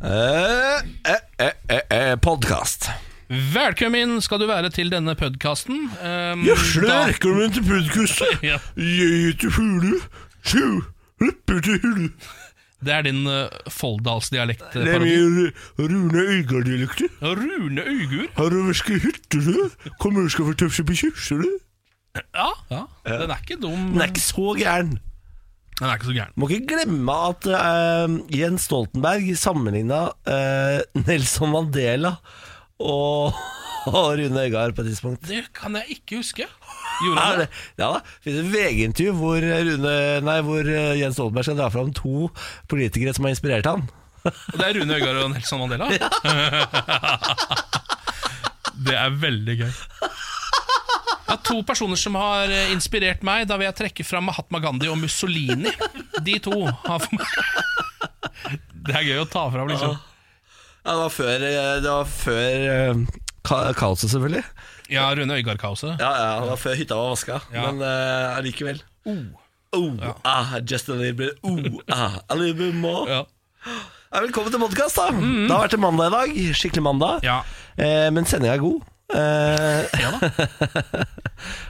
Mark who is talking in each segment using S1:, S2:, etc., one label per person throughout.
S1: Eh, eh, eh, eh, eh, Podkast.
S2: Velkommen skal du være til denne podkasten. Um,
S1: min til podkastet.
S2: Ja.
S1: Jeg heter Fulu. Sjau. Leppe til hulu.
S2: Det er din eh, uh, Folldalsdialekt-parodi.
S1: Rune Øygard-dialekter.
S2: Rune Øygur.
S1: Har du væske hyttene? Kommer du skal få tøfse på kjøpsene?
S2: Ja, ja, den er ikke dum.
S1: Den er ikke så gæren.
S2: Den er ikke så gæren.
S1: Må ikke glemme at eh, Jens Stoltenberg sammenligna eh, Nelson Mandela og, og Rune Øygard på et tidspunkt.
S2: Det kan jeg ikke huske. Gjorde
S1: Ja,
S2: han
S1: det,
S2: det?
S1: ja da. Det finnes et VG-intervju hvor, eh, Rune, nei, hvor eh, Jens Stoltenberg skal dra fram to politikere som har inspirert han.
S2: Det er Rune Øygard og Nelson Mandela. det er veldig gøy. Ja, to personer som har eh, inspirert meg, da vil jeg trekke fram Mahatma Gandhi og Mussolini. De to har for meg Det er gøy å ta fram, liksom.
S1: Ja, det var før, eh, det var før eh, ka- kaoset, selvfølgelig.
S2: Ja, Rune Øygard-kaoset.
S1: Ja, ja, det var før hytta var vaska,
S2: Ja.
S1: men eh, allikevel. Oh, ah, just a little bit oh, ah, a little bit more.
S2: Ja.
S1: Ja, velkommen til podkast, da. Det har vært en mandag i dag. Skikkelig mandag.
S2: Ja.
S1: Eh, men sendinga er god. Eh,
S2: ja da.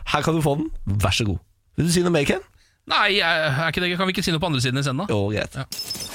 S1: her kan du få den. Vær så god. Vil du si noe mer, Ken?
S2: Nei, er er ikke det, kan vi ikke si noe på andre siden i scenen, da?
S1: Jo, greit.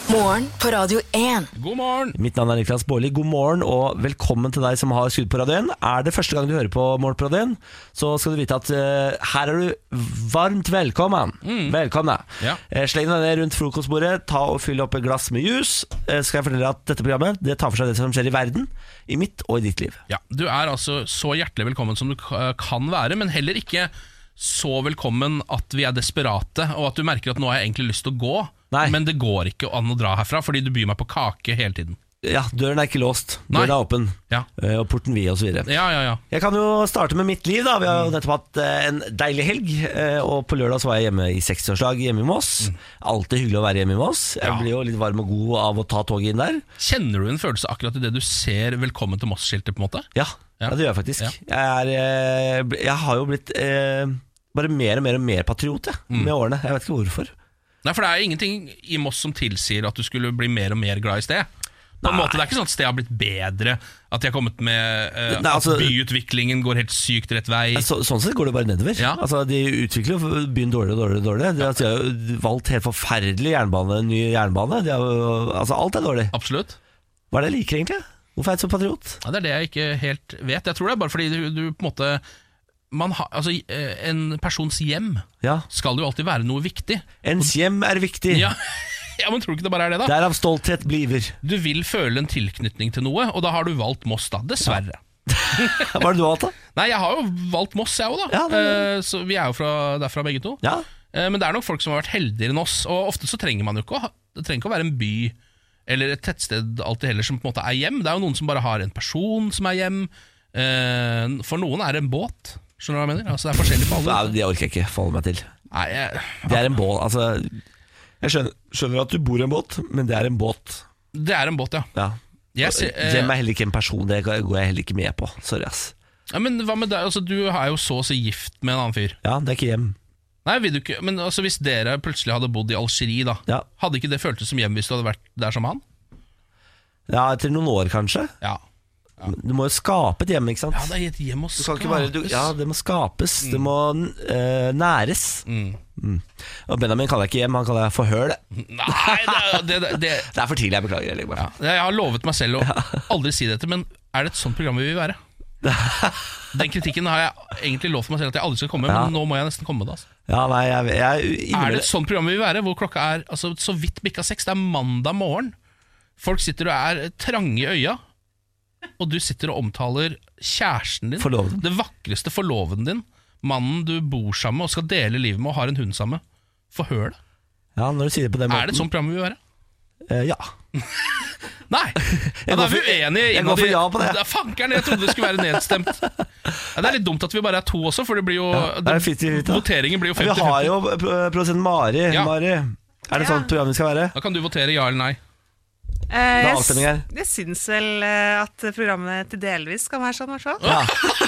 S3: Morgen på Radio 1.
S2: God morgen!
S1: Mitt navn er Niklas Baarli. God morgen og velkommen til deg som har skrudd på radioen. Er det første gang du hører på Morgen på radioen, så skal du vite at eh, her er du varmt velkommen. Velkommen.
S2: Mm. Ja.
S1: Eh, sleng deg ned rundt frokostbordet, ta og fyll opp et glass med juice. Eh, skal jeg fortelle at dette programmet det tar for seg det som skjer i verden, i mitt og i ditt liv.
S2: Ja, Du er altså så hjertelig velkommen som du k- kan være, men heller ikke så velkommen at vi er desperate, og at du merker at nå har jeg egentlig lyst til å gå,
S1: Nei.
S2: men det går ikke an å dra herfra, fordi du byr meg på kake hele tiden.
S1: Ja, døren er ikke låst.
S2: Nei.
S1: Døren er åpen.
S2: Ja.
S1: Eh, Og porten vid, osv.
S2: Ja, ja, ja.
S1: Jeg kan jo starte med mitt liv. da Vi har jo nettopp hatt eh, en deilig helg. eh, Og på lørdag så var jeg hjemme i 60-årslag hjemme i Moss. Alltid hyggelig å være hjemme i Moss. Jeg
S2: Ja.
S1: blir jo litt varm og god av å ta toget inn der.
S2: Kjenner du en følelse akkurat idet du ser 'Velkommen til Moss'-skiltet? på en måte?
S1: Ja,
S2: Ja.
S1: ja. det gjør jeg faktisk. Jeg, er, eh, bl- jeg har jo blitt eh, bare mer og mer og mer patriot jeg, med årene. Jeg vet ikke hvorfor.
S2: Nei, For det er ingenting i Moss som tilsier at du skulle bli mer og mer glad i sted. På en måte, Det er ikke sånn at stedet har blitt bedre, at de har kommet med eh,
S1: Nei, altså-
S2: At byutviklingen går helt sykt rett vei.
S1: Så, sånn sett går det bare nedover.
S2: Ja.
S1: Altså, de utvikler jo byen dårligere og dårligere. og dårligere. De, har- de har jo valgt helt forferdelig jernbane, ny jernbane. De har, jo- altså, alt er dårlig.
S2: Absolutt.
S1: Hva er det jeg liker, egentlig? Hvorfor er jeg så patriot?
S2: Ja, det er det jeg ikke helt vet. Jeg tror det er bare fordi du, du på en måte man har, altså, eh, En persons hjem
S1: Ja.
S2: skal jo alltid være noe viktig.
S1: Ens hjem er viktig.
S2: Ja, ja men tror du ikke det bare er det, da?
S1: Derav stolthet bliver.
S2: Du vil føle en tilknytning til noe, og da har du valgt Moss, da. Dessverre.
S1: Hva er det du har hatt, da?
S2: Nei, jeg har jo valgt Moss, jeg òg, da.
S1: Ja, det-
S2: Eh, så vi er jo fra, derfra begge to.
S1: Ja.
S2: Eh, Men det er nok folk som har vært heldigere enn oss, og ofte så trenger man jo ikke å ha, Det trenger ikke å være en by eller et tettsted alltid heller som på en måte er hjem. Det er jo noen som bare har en person som er hjem. Eh, For noen er det en båt. Skjønner du hva jeg mener? Altså Det er forskjellig for
S1: Nei,
S2: alle.
S1: det orker jeg ikke forholde meg til.
S2: Nei, jeg,
S1: Det er en båt. Altså, jeg skjønner, skjønner at du bor i en båt, men det er en båt.
S2: det er en båt, ja.
S1: Ja.
S2: Jeg ser, eh,
S1: Hjem er heller ikke en person. Det går jeg heller ikke med på. Sorry, ass.
S2: ja men hva med deg? Altså, du er jo så å si gift med en annen fyr.
S1: Ja, det er ikke hjem.
S2: Nei, vil du ikke Men altså, Hvis dere plutselig hadde bodd i Algerie, da,
S1: Ja.
S2: hadde ikke det føltes som hjem hvis du hadde vært der som han?
S1: Ja, Etter noen år, kanskje.
S2: Ja.
S1: Du må jo skape et hjem, ikke sant?
S2: ja det er et hjem å
S1: Du kan ikke bare, du,
S2: skapes. Mm.
S1: ja, det må skapes. Det må eh, næres. Mm. Og Benjamin kaller jeg ikke hjem, han kaller jeg forhøl.
S2: Nei, det, er- det, det, det
S1: Det er for tidlig, jeg beklager. Jeg legger meg.
S2: Ja. Jeg har lovet meg selv å aldri si dette, men er det et sånt program vi vil være? Den kritikken har jeg egentlig lovt meg selv at jeg aldri skal komme,
S1: Ja.
S2: men nå må jeg nesten komme med det. Altså.
S1: Ja, nei, jeg, jeg,
S2: Er det et sånt program vi vil være, hvor klokka er altså, så vidt bikka seks? Det er mandag morgen. Folk sitter og er trange i øya, og du sitter og omtaler kjæresten din,
S1: Forloveden.
S2: det vakreste forloveden din, mannen du bor sammen med og skal dele livet med og har en hund sammen med. Forhør det.
S1: Ja, når du sier det på den måten
S2: Er det sånn et sånt program vi vil være?
S1: Eh, ja.
S2: Nei! Ja,
S1: går
S2: da er vi
S1: for-
S2: uenige.
S1: jeg
S2: innad
S1: går for
S2: i-
S1: ja på det.
S2: Da, fankeren, jeg trodde det skulle være nedstemt. Ja, det er litt dumt at vi bare er to også, for det blir jo
S1: det er 50-50, da.
S2: Voteringen blir jo
S1: Vi har
S2: 50-50.
S1: jo eh, produsent Mari.
S2: Ja.
S1: Mari, er det sånn program vi skal være?
S2: Da kan du votere ja eller nei.
S4: Eh, jeg,
S1: avstemning her.
S4: s- jeg syns vel eh, at programmet til delvis skal være sånn, i hvert fall.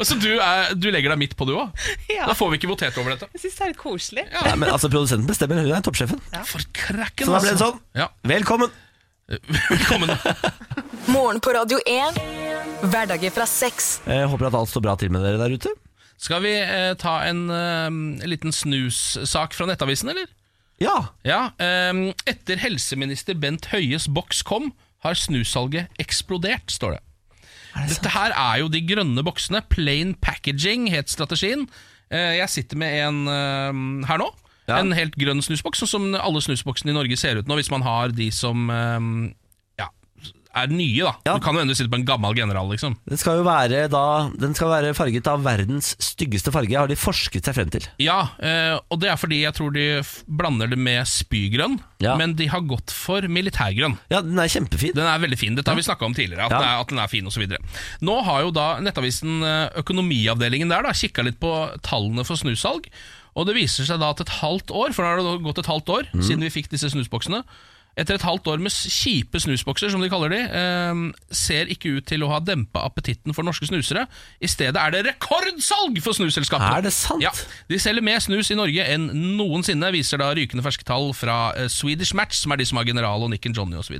S2: Altså, du, er, du legger deg midt på, du òg?
S4: Ja.
S2: Da får vi ikke votert over dette.
S4: Jeg syns det er litt koselig.
S1: Ja, men altså Produsenten bestemmer, hun er toppsjefen.
S2: For krakken,
S1: Så da ble det sånn.
S2: Ja.
S1: Velkommen!
S2: Velkommen.
S3: Morgen på Radio 1. Hverdager fra seks.
S1: Jeg Eh, håper at alt står bra til med dere der ute.
S2: Skal vi eh, ta en eh, liten snussak fra Nettavisen, eller?
S1: Ja,
S2: Ja, ehm, Etter helseminister Bent Høies boks kom, har snussalget eksplodert, står det. Dette her er jo de grønne boksene. Plain packaging het strategien. Eh, Jeg sitter med en ehm, her nå.
S1: Ja.
S2: En helt grønn snusboks, sånn som alle snusboksene i Norge ser ut nå, hvis man har de som ehm, ja, er nye, da.
S1: Ja.
S2: Du kan jo ennå sitte på en gammel general, liksom.
S1: den skal jo være, da, den skal være farget av verdens styggeste farge, har de forsket seg frem til.
S2: Ja, eh, og det er fordi jeg tror de f blander det med spygrønn,
S1: Ja.
S2: men de har gått for militærgrønn.
S1: Ja, den er kjempefin.
S2: Den er veldig fin. Dette har vi snakka om tidligere. At,
S1: Ja.
S2: den er, at den er fin og så videre. Nå har jo da Nettavisen eh, Økonomiavdelingen der da kikka litt på tallene for snussalg. Og det viser seg da at et halvt år, for nå har det da gått et halvt år
S1: Mm.
S2: siden vi fikk disse snusboksene Etter et halvt år med s- kjipe snusbokser, som de kaller de, eh, ser ikke ut til å ha dempa appetitten for norske snusere. I stedet er det rekordsalg for snusselskapene!
S1: Er det sant?
S2: Ja, de selger mer snus i Norge enn noensinne, viser da rykende ferske tall fra eh, Swedish Match, som er de som har General og Nick and Johnny osv.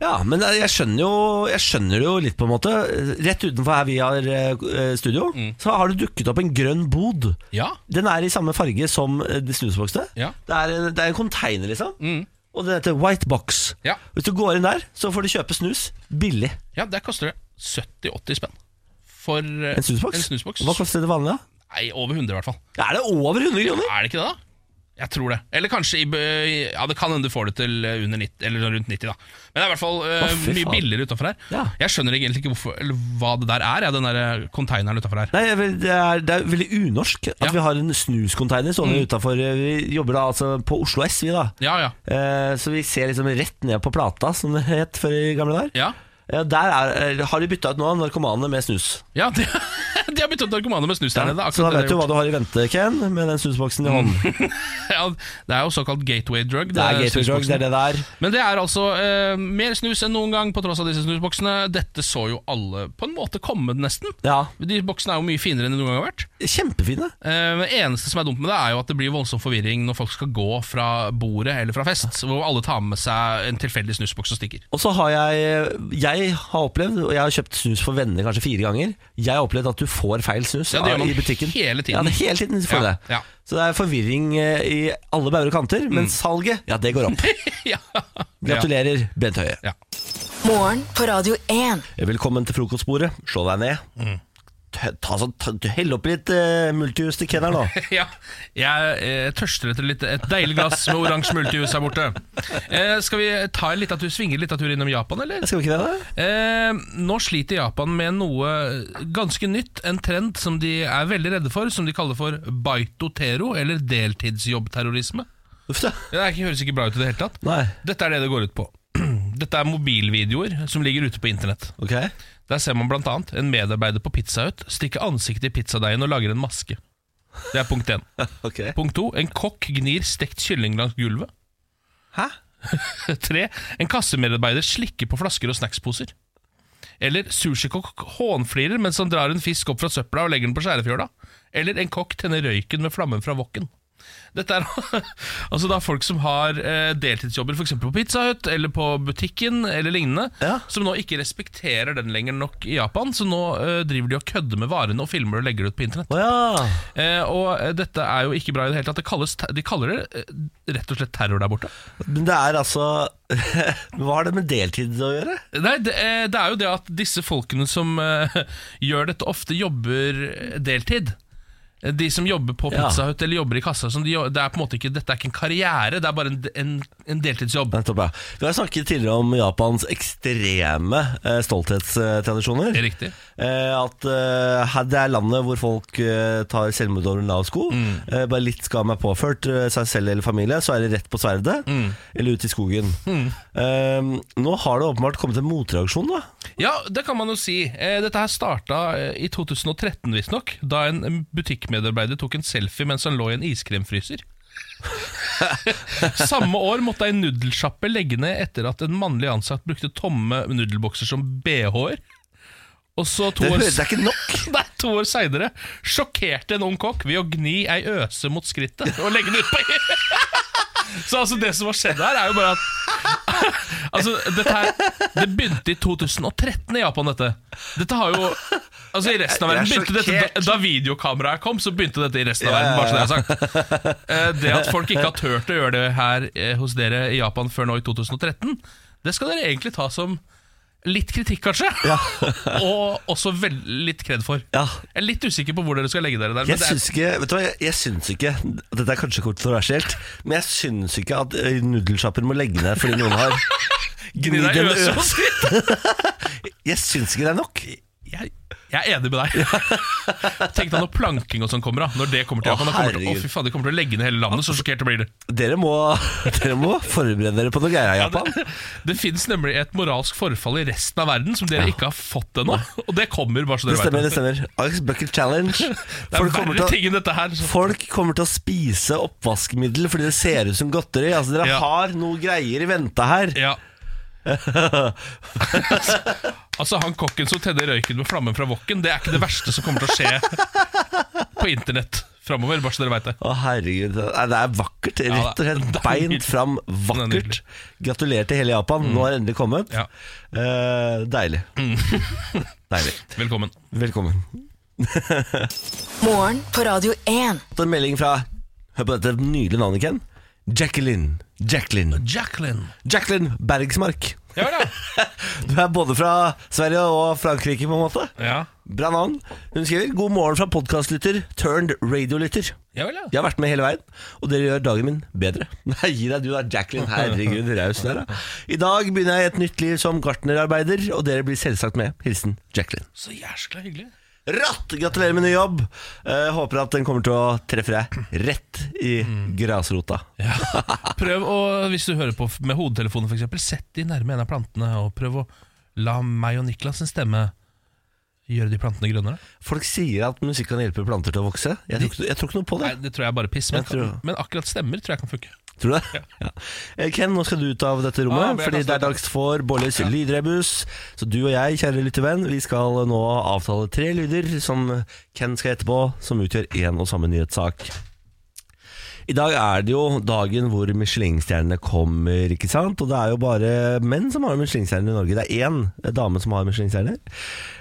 S1: Ja, men eh, jeg skjønner, jo, jeg skjønner det jo litt på en måte. Rett utenfor her vi har eh, studio,
S2: Mm.
S1: så har det dukket opp en grønn bod.
S2: Ja.
S1: Den er i samme farge som eh, de snusboksene.
S2: Ja. Mm.
S1: Det, er en, det er en container, liksom. Og den heter White Box.
S2: Ja.
S1: Hvis du går inn der, så får du kjøpe snus billig.
S2: ja, der koster det 70-80 spenn. For eh,
S1: En snusboks?
S2: En snusboks.
S1: Hva koster det vanlige? da?
S2: Nei, over 100 i hvert fall.
S1: Er det over 100 kroner?
S2: Er det ikke det, da? Jeg tror det. Eller kanskje i, bø- Ja, det kan hende du får det til eh, under 90, eller sånn rundt 90, da. Men det er i hvert fall eh,
S1: Å, fy
S2: mye
S1: faen.
S2: billigere utafor her.
S1: Ja.
S2: Jeg skjønner egentlig ikke hvorfor, eller hva det der er, ja, den der konteineren utafor her.
S1: Nei, jeg vil- det er, det er veldig unorsk at
S2: Ja. Mm.
S1: vi har en snuscontainer stående utenfor Eh, Vi jobber da altså på Oslo S, vi da.
S2: Ja, ja.
S1: Eh, så vi ser liksom rett ned på plata, som det het før i gamle dager.
S2: Ja,
S1: Eh, der er, eh, har de bytta ut nå narkomanene med snus.
S2: ja de, de har byttet ut narkomane med snus der nede. akkurat
S1: så da
S2: det
S1: vet du
S2: de har gjort.
S1: hva du har i vente, Ken, med den snusboksen i hånden.
S2: ja, det er jo såkalt gateway drug.
S1: Det er gateway drug,
S2: snusboksene.
S1: det er det der.
S2: Men det er altså eh, mer snus enn noen gang på tross av disse snusboksene. Dette så jo alle på en måte komme, nesten.
S1: Ja,
S2: De boksene er jo mye finere enn de noen gang har vært.
S1: kjempefine.
S2: Eh, men eneste som er dumt med det, er jo at det blir voldsom forvirring når folk skal gå fra bordet eller fra fest, hvor alle tar med seg en tilfeldig snusboks og stikker.
S1: Og så har jeg Jeg har opplevd, og jeg har kjøpt snus for venner kanskje fire ganger, jeg har opplevd at du får feil snus
S2: Ja, det gjør man
S1: i butikken.
S2: hele tiden.
S1: Ja, det, hele tiden får du
S2: Ja,
S1: det.
S2: ja. Mm.
S1: Så det er forvirring eh, i alle bauger og kanter, men salget, ja, det går opp.
S2: ja.
S1: Gratulerer, Bent Høie.
S2: Ja.
S3: Morgen på Radio 1.
S1: Velkommen til frokostbordet. Slå deg ned.
S2: Mm.
S1: Ta, ta, sånn- ta, du Hell oppi litt uh, multijus til Ken her nå.
S2: Ja, jeg eh, tørster etter litt, et deilig glass med oransje multijus her borte. Eh, skal vi ta en liten tur, svinge en liten tur innom Japan, eller?
S1: Skal vi ikke det? da?
S2: Eh, nå sliter Japan med noe ganske nytt, en trend som de er veldig redde for, som de kaller for baitotero, eller deltidsjobbterrorisme.
S1: Uff da.
S2: Det er ikke, høres ikke bra ut i det hele tatt.
S1: Nei.
S2: Dette er det det går ut på. Dette er mobilvideoer som ligger ute på internett.
S1: Ok.
S2: Der ser man bl.a. en medarbeider på Pizza Hut stikke ansiktet i pizzadeigen og lager en maske. Det er punkt én.
S1: Ok.
S2: Punkt to. En kokk gnir stekt kylling langs gulvet.
S1: Hæ?
S2: Tre, en kassemedarbeider slikker på flasker og snacksposer. Eller sushikokk hånflirer mens han drar en fisk opp fra søpla og legger den på skjærefjøla. Eller en kokk tenner røyken med flammen fra wokken. Dette er altså da folk som har eh, deltidsjobber f.eks. på Pizza Hut eller på butikken eller lignende,
S1: Ja.
S2: som nå ikke respekterer den lenger nok i Japan, så nå eh, driver de og kødder med varene og filmer og legger det ut på internett.
S1: Å ja.
S2: Eh, og eh, dette er jo ikke bra i det hele tatt. Det kalles, te- de kaller det eh, rett og slett terror der borte.
S1: Men det er altså Hva har det med deltid å gjøre?
S2: Nei, det, eh, det er jo det at disse folkene som eh, gjør dette, ofte jobber deltid. Eh, De som jobber på
S1: Ja.
S2: Pizza Hut eller jobber i kassa. Som de, jo- det er på en måte ikke, dette er ikke en karriere, det er bare en, en, en deltidsjobb.
S1: Nettopp, ja. Vi har snakket tidligere om Japans ekstreme eh, stolthetstradisjoner.
S2: Det er riktig.
S1: Eh, at eh, her- det er landet hvor folk eh, tar selvmord over en lav sko.
S2: Mm.
S1: Eh, bare litt skam er påført eh, seg selv eller familie, så er det rett på sverdet.
S2: Mm.
S1: Eller ut i skogen. Eh, nå har det åpenbart kommet en motreaksjon, da.
S2: Ja, det kan man jo si. Eh, Dette her starta eh, i 2013, visstnok, da en butikkmedarbeider tok en selfie mens han lå i en iskremfryser. Samme år måtte ei nudelsjappe legge ned etter at en mannlig ansatt brukte tomme nudelbokser som bh-er. Og så to
S1: Det,
S2: år,
S1: hø- det er ikke nok!
S2: Nei, to år seinere sjokkerte en ung kokk ved å gni ei øse mot skrittet og legge den utpå Så altså det som har skjedd her, er jo bare at Altså, dette her, det begynte i 2013 i Japan, dette. Dette har jo Altså, i resten av
S1: Jeg er
S2: verden begynte dette Da,
S1: sjokkert.
S2: da videokameraet kom, så begynte dette i resten
S1: Ja,
S2: av verden.
S1: ja,
S2: Bare så det er sagt. Eh, Det at folk ikke har turt å gjøre det her eh, hos dere i Japan før nå i 2013, det skal dere egentlig ta som litt kritikk, kanskje. Og også vel, litt kred for.
S1: Ja.
S2: Jeg er litt usikker på hvor dere skal legge dere der. men
S1: Jeg
S2: det er-
S1: syns ikke Vet du hva, jeg, jeg syns ikke Dette er kanskje kontroversielt, men jeg syns ikke at eh, nudelsjapper må legge ned fordi noen har
S2: Gni deg i
S1: en
S2: øsa.
S1: øs. Jeg syns ikke det er nok.
S2: jeg, jeg er enig med deg. Tenk deg når planking og sånn kommer. da Når det kommer til
S1: Å,
S2: Japan. da kommer til, å,
S1: herregud.
S2: fy faen, de kommer til å legge ned hele landet. Så sjokkert det blir det.
S1: Dere må, dere må forberede dere på noe greier i Japan.
S2: Det finnes nemlig et moralsk forfall i resten av verden som dere ikke har fått ennå. Og det kommer, bare så
S1: Det stemmer. det
S2: dere vet det.
S1: stemmer Ice Bucket Challenge.
S2: Det er
S1: Folk kommer,
S2: verre
S1: til,
S2: ting enn dette her.
S1: å-
S2: Så.
S1: folk kommer til å spise oppvaskmiddel fordi det ser ut som godteri. Altså Dere
S2: Ja.
S1: har noe greier i vente her.
S2: Ja. altså, han kokken som tenner røyken med flammen fra wokken, det er ikke det verste som kommer til å skje på internett framover, bare så dere veit det.
S1: Å herregud, Nei, Det er vakkert.
S2: det-
S1: Rett og
S2: det er
S1: slett beint
S2: nydelig.
S1: fram.
S2: Det er nydelig. Mm.
S1: Vakkert. Gratulerer til hele Japan. Nå har det endelig kommet.
S2: Ja. Mm.
S1: Eh, deilig. deilig.
S2: Velkommen.
S1: Velkommen.
S3: Morgen på Radio 1.
S1: fått en melding fra Hør på dette nydelige navnet, Ken. Jacqueline. Jacqueline.
S2: Jacqueline.
S1: Jacqueline Bergsmark.
S2: Ja da.
S1: Du er både fra Sverige og Frankrike, på en måte.
S2: Ja.
S1: Bra navn. Hun skriver 'God morgen fra podkastlytter turned radiolytter'.
S2: Ja vel, ja.
S1: Jeg har vært med hele veien, og dere gjør dagen min bedre. Nei, gi deg du da, Jacqueline. Herregud, raus der, da. I dag begynner jeg et nytt liv som gartnerarbeider, og dere blir selvsagt med. Hilsen Jacqueline.
S2: Så jæskla hyggelig.
S1: Ratt! Gratulerer med ny jobb. Eh, håper at den kommer til å treffe deg rett i grasrota.
S2: Prøv å, hvis du hører på f- med hodetelefonen for eksempel Sett de nærme en av plantene Og prøv å la meg og Niklas sin stemme Gjøre de plantene grønnere
S1: Folk sier at musikk kan hjelpe planter til å vokse. Jeg tror ikke, jeg tror ikke noe på
S2: Nei,
S1: det.
S2: det tror jeg er bare piss Men,
S1: Jeg tror-
S2: men akkurat stemmer tror jeg kan funke
S1: Tror du det? Ja. Eh, Ken, nå skal du ut av dette
S2: Ah,
S1: rommet,
S2: men jeg
S1: fordi
S2: kan
S1: det er
S2: stå-
S1: dags for Bollis lydrebus. Så du og jeg, kjære lyttevenn, vi skal nå avtale tre lyder som Ken skal gjette på, som utgjør én og samme nyhetssak. I dag er det jo dagen hvor Michelin-stjernene kommer, ikke sant? Og det er jo bare menn som har Michelin-stjerner i Norge. Det er én dame som har Michelin-stjerner.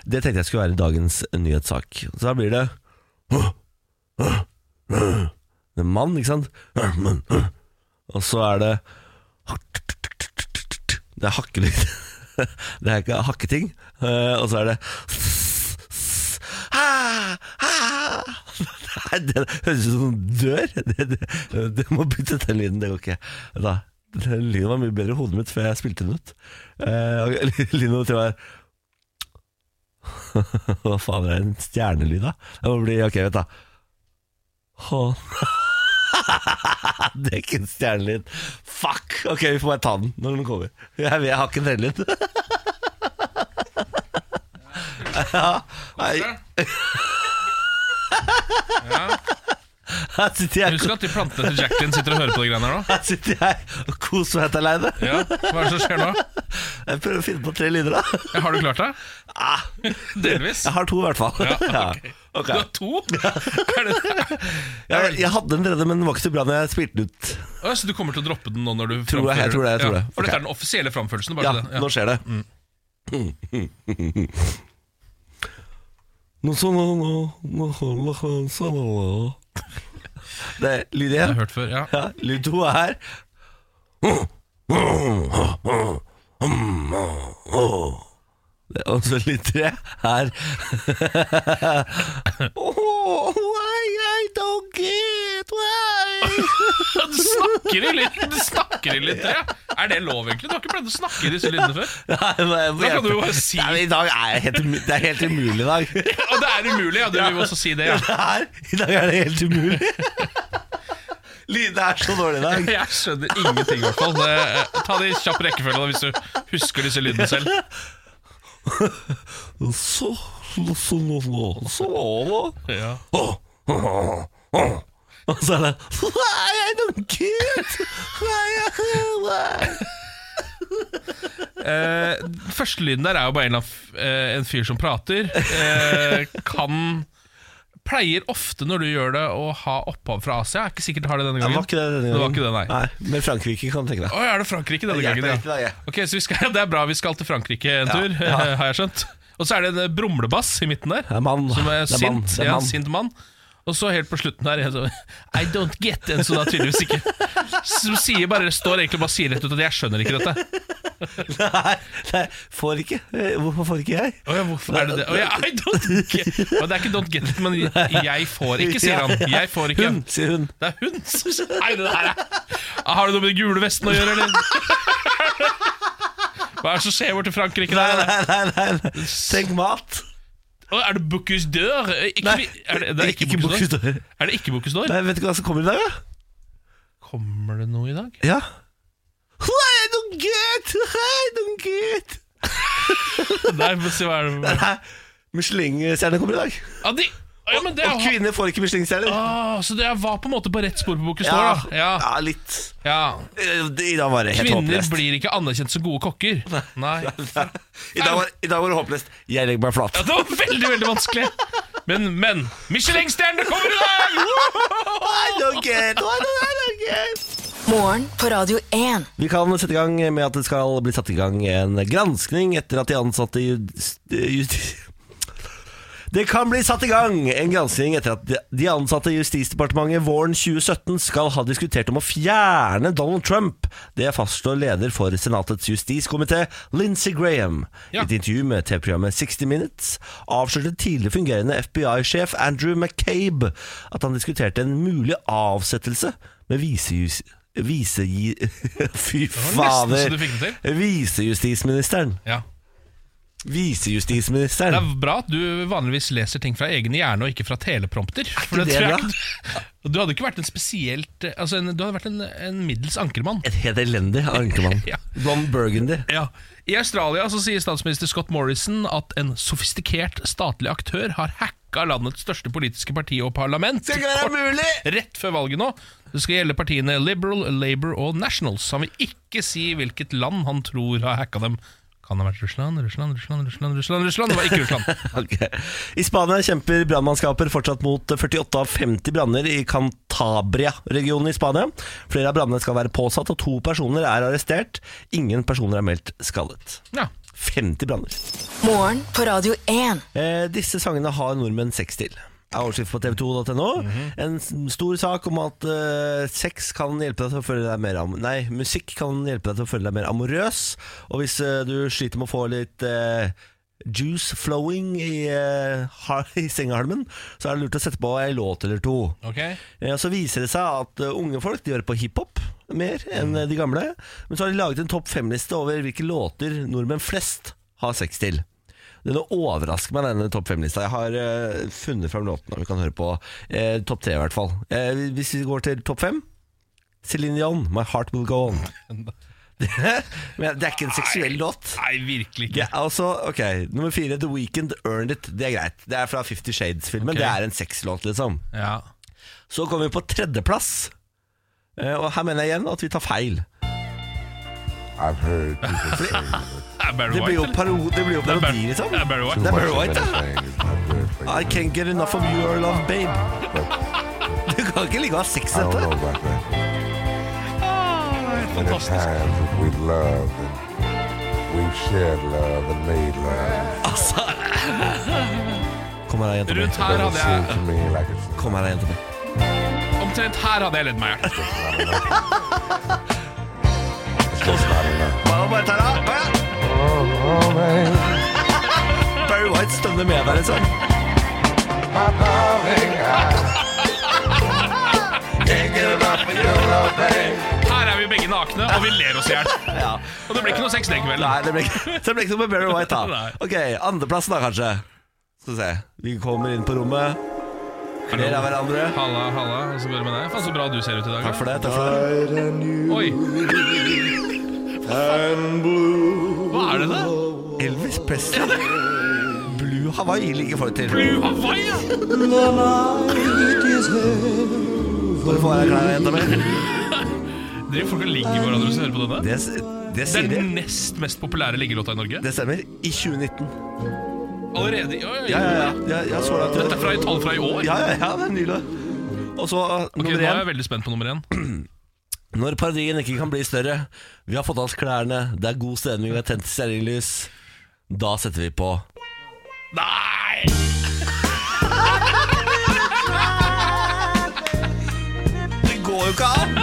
S1: Det tenkte jeg skulle være dagens nyhetssak. Så da blir det Det er mann, ikke sant? Og så er det Det er hakkelyd. Det er ikke hakketing. Eh, Og så er det Nei, det høres ut som noen dør. Det, det, det må bytte ut den lyden. Det går ikke. Da, den lyden var mye bedre i hodet mitt før jeg spilte den ut. Eh, og lyden nå tror jeg er Hva faen er det en stjernelyd, da? Det må bli Ok, vent, da. Å, det er ikke en stjernelyd. Fuck! Ok, vi får bare ta den når den kommer. Jeg, vet, jeg har ikke en selvlyd. ja, nei, her sitter jeg
S2: Husk at de plantene til Jacqueline sitter og hører på de greiene her nå
S1: Her sitter jeg og koser meg helt aleine.
S2: ja, Hva er det som skjer nå?
S1: Jeg prøver å finne på tre lyder, da.
S2: Ja, Har du klart det?
S1: Ah,
S2: Delvis
S1: jeg har to, i hvert fall.
S2: Ja,
S1: Ja,
S2: ok.
S1: ok.
S2: Du har to? Er det?
S1: Jeg, jeg hadde en tredje, men den var ikke så bra når jeg spilte den ut.
S2: Å, Så du kommer til å droppe den nå når du
S1: Tror jeg, jeg tror det, jeg tror
S2: Ja,
S1: det. Ok.
S2: For dette er den offisielle framførelsen bare
S1: Ja,
S2: så det- Mm.
S1: nå skjer det. Nå så nå, nå, nå, nå, nå, så nå, nå. Det er lyd
S2: Jeg har
S1: én.
S2: hørt før, ja
S1: Ja, lyd to er her. Det- Og så lyd tre er oh, Why I don't get why
S2: Ja, Du snakker i litt, du snakker i litt ja. Er det lov, egentlig? Du har ikke pleid å snakke i disse lydene før.
S1: Nei, men
S2: Da
S1: jeg
S2: kan
S1: må
S2: du jo
S1: hjelpe.
S2: bare si
S1: Nei, men I dag er jeg helt, umu- det er helt umulig i dag.
S2: Og det er umulig, ja. Du vil jo også si det.
S1: Ja,
S2: Ja.
S1: det er, I dag er det helt umulig. Lyden er så dårlig i dag.
S2: Jeg skjønner ingenting, i hvert fall. Det, eh, ta det i kjapp rekkefølge da, hvis du husker disse lydene selv.
S1: Så, så, så, så, så.
S2: Ja.
S1: Åh, åh, åh, åh. Og så er det Why I don't get why I, why.
S2: Eh, første lyden der er jo bare en, av, f- eh, en fyr som prater. Eh, kan pleier ofte når du gjør det, å ha opphav fra Asia. Jeg er ikke sikkert det har det denne
S1: Det
S2: gangen.
S1: var ikke det denne
S2: Det
S1: gangen.
S2: var ikke det, nei.
S1: Men Frankrike kan du tenke deg.
S2: Å, er det Frankrike denne
S1: Jeg
S2: gangen?
S1: tenkte det, jeg.
S2: Ok, så vi skal, Det er bra vi skal til Frankrike en tur, har jeg skjønt. Og så er det en eh, brumlebass i midten der,
S1: Det er mann.
S2: som er,
S1: Det er mann.
S2: sint.
S1: Det er
S2: ja,
S1: mann.
S2: sint mann. Og så helt på slutten der en sånn, I don't get den, så da tydeligvis ikke. Som sier bare, står egentlig bare og sier rett ut at jeg skjønner ikke dette.
S1: Nei, nei, får ikke. Eh, Hvorfor får ikke jeg?
S2: Åja, hvorfor er det det? Åja, I don't get Og Det er ikke don't get it, men jeg får ikke, sier han. Jeg får ikke.
S1: Hun, sier hun.
S2: Det er hun som Nei, det der er Har det noe med den gule vesten å gjøre, eller? Hva er det som skjer borte i Frankrike?
S1: Nei,
S2: der?
S1: nei, nei. nei, nei. Tenk mat.
S2: Å, er det Bocuse d'Or? Eh, Ikke,
S1: Nei,
S2: vi- er det, det er ikke,
S1: ikke
S2: Bocuse d'Or?
S1: Bocuse d'Or.
S2: Er det ikke Bocuse d'Or?
S1: Nei, vet du hva som kommer i dag, da?
S2: Kommer det noe i dag?
S1: Ja. Nei, don't get. Nei, don't get.
S2: Nei, få se hva er det
S1: Nei, Michelin-stjerne kommer i dag.
S2: ah, de, Å, ja, men det er,
S1: Og kvinner får ikke Michelin-stjerner.
S2: Å, Så det er- var på en måte på rett spor på Bocuse d'Or, da.
S1: ja,
S2: Ja,
S1: litt.
S2: ja.
S1: Eh, I dag var det helt
S2: Kvinner
S1: håpløst.
S2: blir ikke anerkjent som gode kokker. Nei.
S1: I dag, var, I dag var det håpløst. Jeg legger meg flat.
S2: Ja, det var veldig, veldig vanskelig. Men, men Michelin-stjernene kommer i dag!
S1: I don't get, I don't- I don't get.
S3: Morgen på Radio 1.
S1: Vi kan sette i gang med at det skal bli satt i gang en granskning etter at de ansatte jus- justi- Det kan bli satt i gang en granskning etter at de ansatte i Justisdepartementet våren 2017 skal ha diskutert om å fjerne Donald Trump. Det fastslår leder for Senatets justiskomité, Lindsey Graham.
S2: Ja.
S1: I et intervju med TV-programmet 60 Minutes avslørte tidligere fungerende FBI-sjef Andrew McCabe at han diskuterte en mulig avsettelse med visejus... Vise... Fy
S2: var nesten så du
S1: fader!
S2: fikk det
S1: Visejustisministeren.
S2: Ja.
S1: Visejustisministeren.
S2: Det er bra at du vanligvis leser ting fra egen hjerne og ikke fra teleprompter. For
S1: det
S2: det tror jeg
S1: bra?
S2: ikke du, du hadde ikke vært en spesielt altså en, Du hadde vært en, en middels ankermann.
S1: Et helt elendig ankermann.
S2: Ja.
S1: Don Burgundy.
S2: Ja. I Australia så sier statsminister Scott Morrison at en sofistikert statlig aktør har hacka landets største politiske parti og parlament.
S1: mulig!
S2: Rett før valget nå. Det skal gjelde partiene Liberal, Labour og Nationals. Han vil ikke si hvilket land han tror har hacka dem. Kan det ha vært Russland, Russland, Russland, Russland, Russland, Russland? Det var ikke Russland.
S1: I Spania kjemper brannmannskaper fortsatt mot 48 av 50 branner i Cantabria-regionen i Spania. Flere av brannene skal være påsatt, og to personer er arrestert. Ingen personer er meldt skadet.
S2: Ja.
S1: 50 branner.
S3: Morgen på Radio 1.
S1: Eh, disse sangene har nordmenn sex til. Er overskrift på tv2.no. En s- stor sak om at eh, sex kan hjelpe deg til å føle deg mer am Nei, musikk kan hjelpe deg til å føle deg mer amorøs. Og hvis eh, du sliter med å få litt eh, juice flowing i, eh, har- i sengehalmen, så er det lurt å sette på ei låt eller to.
S2: Ok.
S1: Eh, Så viser det seg at eh, unge folk de hører på hiphop mer enn eh, de gamle. Men så har de laget en topp fem-liste over hvilke låter nordmenn flest har sex til. Denne overrasker meg, denne topp fem-lista. Jeg har eh, funnet fram låtene vi kan høre på. eh, topp tre, i hvert fall. Eh, hvis vi går til topp fem Céline Dion, 'My Heart Will Go On'. Det, men det er ikke en seksuell låt.
S2: Nei, virkelig
S1: Det
S2: ikke.
S1: er altså, ok, Nummer fire, 'The Weekend Earned It'. Det er greit. Det er fra Fifty Shades-filmen.
S2: Ok.
S1: Det er en sexlåt, liksom.
S2: Ja.
S1: Så kommer vi på tredjeplass. Eh, Og her mener jeg igjen at vi tar feil.
S5: I've heard people say that
S2: Er Barry
S1: Det blir jo
S2: White, eller?
S1: paro det blir jo
S2: er
S1: parodi,
S2: Barry-
S1: liksom.
S2: det er Barry White.
S1: Det er Barry
S5: much of
S1: White, ja.
S5: anything is not good for you.
S1: I
S5: I
S1: can't get enough of your love, babe. Du kan ikke ligge og ha sex
S5: don't know
S1: dette.
S5: about that. And at
S2: Fantastisk.
S5: times that we loved and we've shared love and made love.
S1: Kom her, da, jenta
S2: Rundt
S1: mi.
S5: It
S2: her
S5: doesn't
S2: hadde
S5: seem
S2: jeg
S5: to me like it's
S1: Kom her, da, jenta mi.
S2: Omtrent her hadde jeg ledd meg. ja.
S5: it's just not enough.
S1: Bare, bare ta deg av. Bare.
S5: Oh, man,
S1: Barry White stønner med deg, liksom.
S5: my darling, I can't get enough of your love, babe.
S2: Her er vi begge nakne, og vi ler oss i hjel. Og det blir ikke noe sex den kvelden.
S1: Nei, det ble ikke, så det ble ikke noe med Barry White, da.
S2: Nei.
S1: Ok, Andreplassen, da, kanskje. Skal vi se. Vi kommer inn på rommet, ler av hverandre.
S2: Halla, halla. Og så går det med deg. Faen, så bra du ser ut i dag.
S1: Takk for det. takk for det
S2: da. Oi. Hva er det da?
S1: Elvis Presley. Blue Hawaii ligger forut til.
S2: Blue Hawaii, ja.
S1: Bare få av deg klærne, jenta mi.
S2: Driver folk og ligger med hverandre hvis du hører på denne?
S1: Det, det
S2: Det
S1: sier
S2: er
S1: de.
S2: den nest mest populære liggelåta i Norge.
S1: Det stemmer. I 2019.
S2: Å, Allerede? i- Oi,
S1: Ja, ja, ja, ja, ja så langt.
S2: Dette er fra et tall fra i år?
S1: Ja, ja, ja, det er nylig. Og så uh,
S2: Ok,
S1: nummer
S2: Nå er
S1: én.
S2: jeg veldig spent på nummer én.
S1: Når parodien ikke kan bli større, vi har fått av oss klærne, det er god stemning, vi har tent stearinlys, da setter vi på
S2: Nei!
S1: Det går jo ikke an!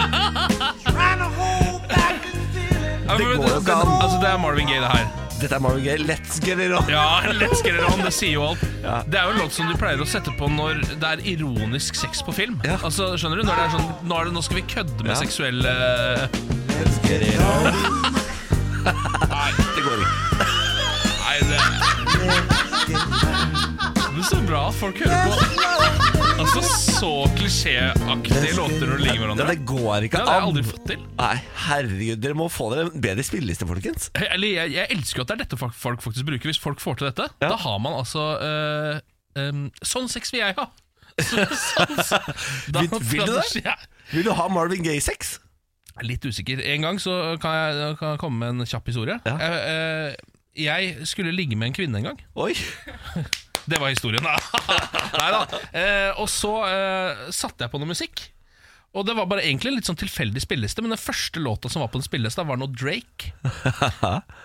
S2: Ja,
S1: går
S2: men det,
S1: jo ikke
S2: den-
S1: an.
S2: altså, det er Marvin Gaye, det her.
S1: Dette er Marvin Gaye, let's get it on!
S2: Ja, Let's Get It On, det sier jo alt. Det er jo en låt som du pleier å sette på når det er ironisk sex på film.
S1: Ja.
S2: Altså, skjønner du? Når det er sånn, nå, er det, nå skal vi kødde med
S1: Ja.
S2: seksuelle
S1: Let's get it on.
S2: Nei,
S1: Det går ikke.
S2: nei, det Men så bra at folk hører på. Altså, så klisjéaktige låter når de ligger med
S1: Ja,
S2: hverandre.
S1: det går
S2: Ja,
S1: ikke
S2: det har jeg
S1: an.
S2: aldri fått til.
S1: Nei, herregud, dere må få dere en bedre spilleliste, folkens.
S2: Eller, jeg, jeg elsker jo at det er dette folk, folk faktisk bruker. Hvis folk får til dette,
S1: Ja.
S2: da har man altså eh, em, Sånn sex vil jeg ha! sånn, da,
S1: Vil- vil du det?
S2: Ja.
S1: Vil du ha Marvin Gaye-sex?
S2: Jeg er Litt usikker. En gang så kan jeg, kan jeg komme med en kjapp historie.
S1: Ja.
S2: Jeg, eh, jeg skulle ligge med en kvinne en gang.
S1: Oi,
S2: Det var historien. Nei da. Eh, og så eh, satte jeg på noe musikk. Og det var bare egentlig en litt sånn tilfeldig spilleliste, men den første låta som var på den spillelista, var noe Drake.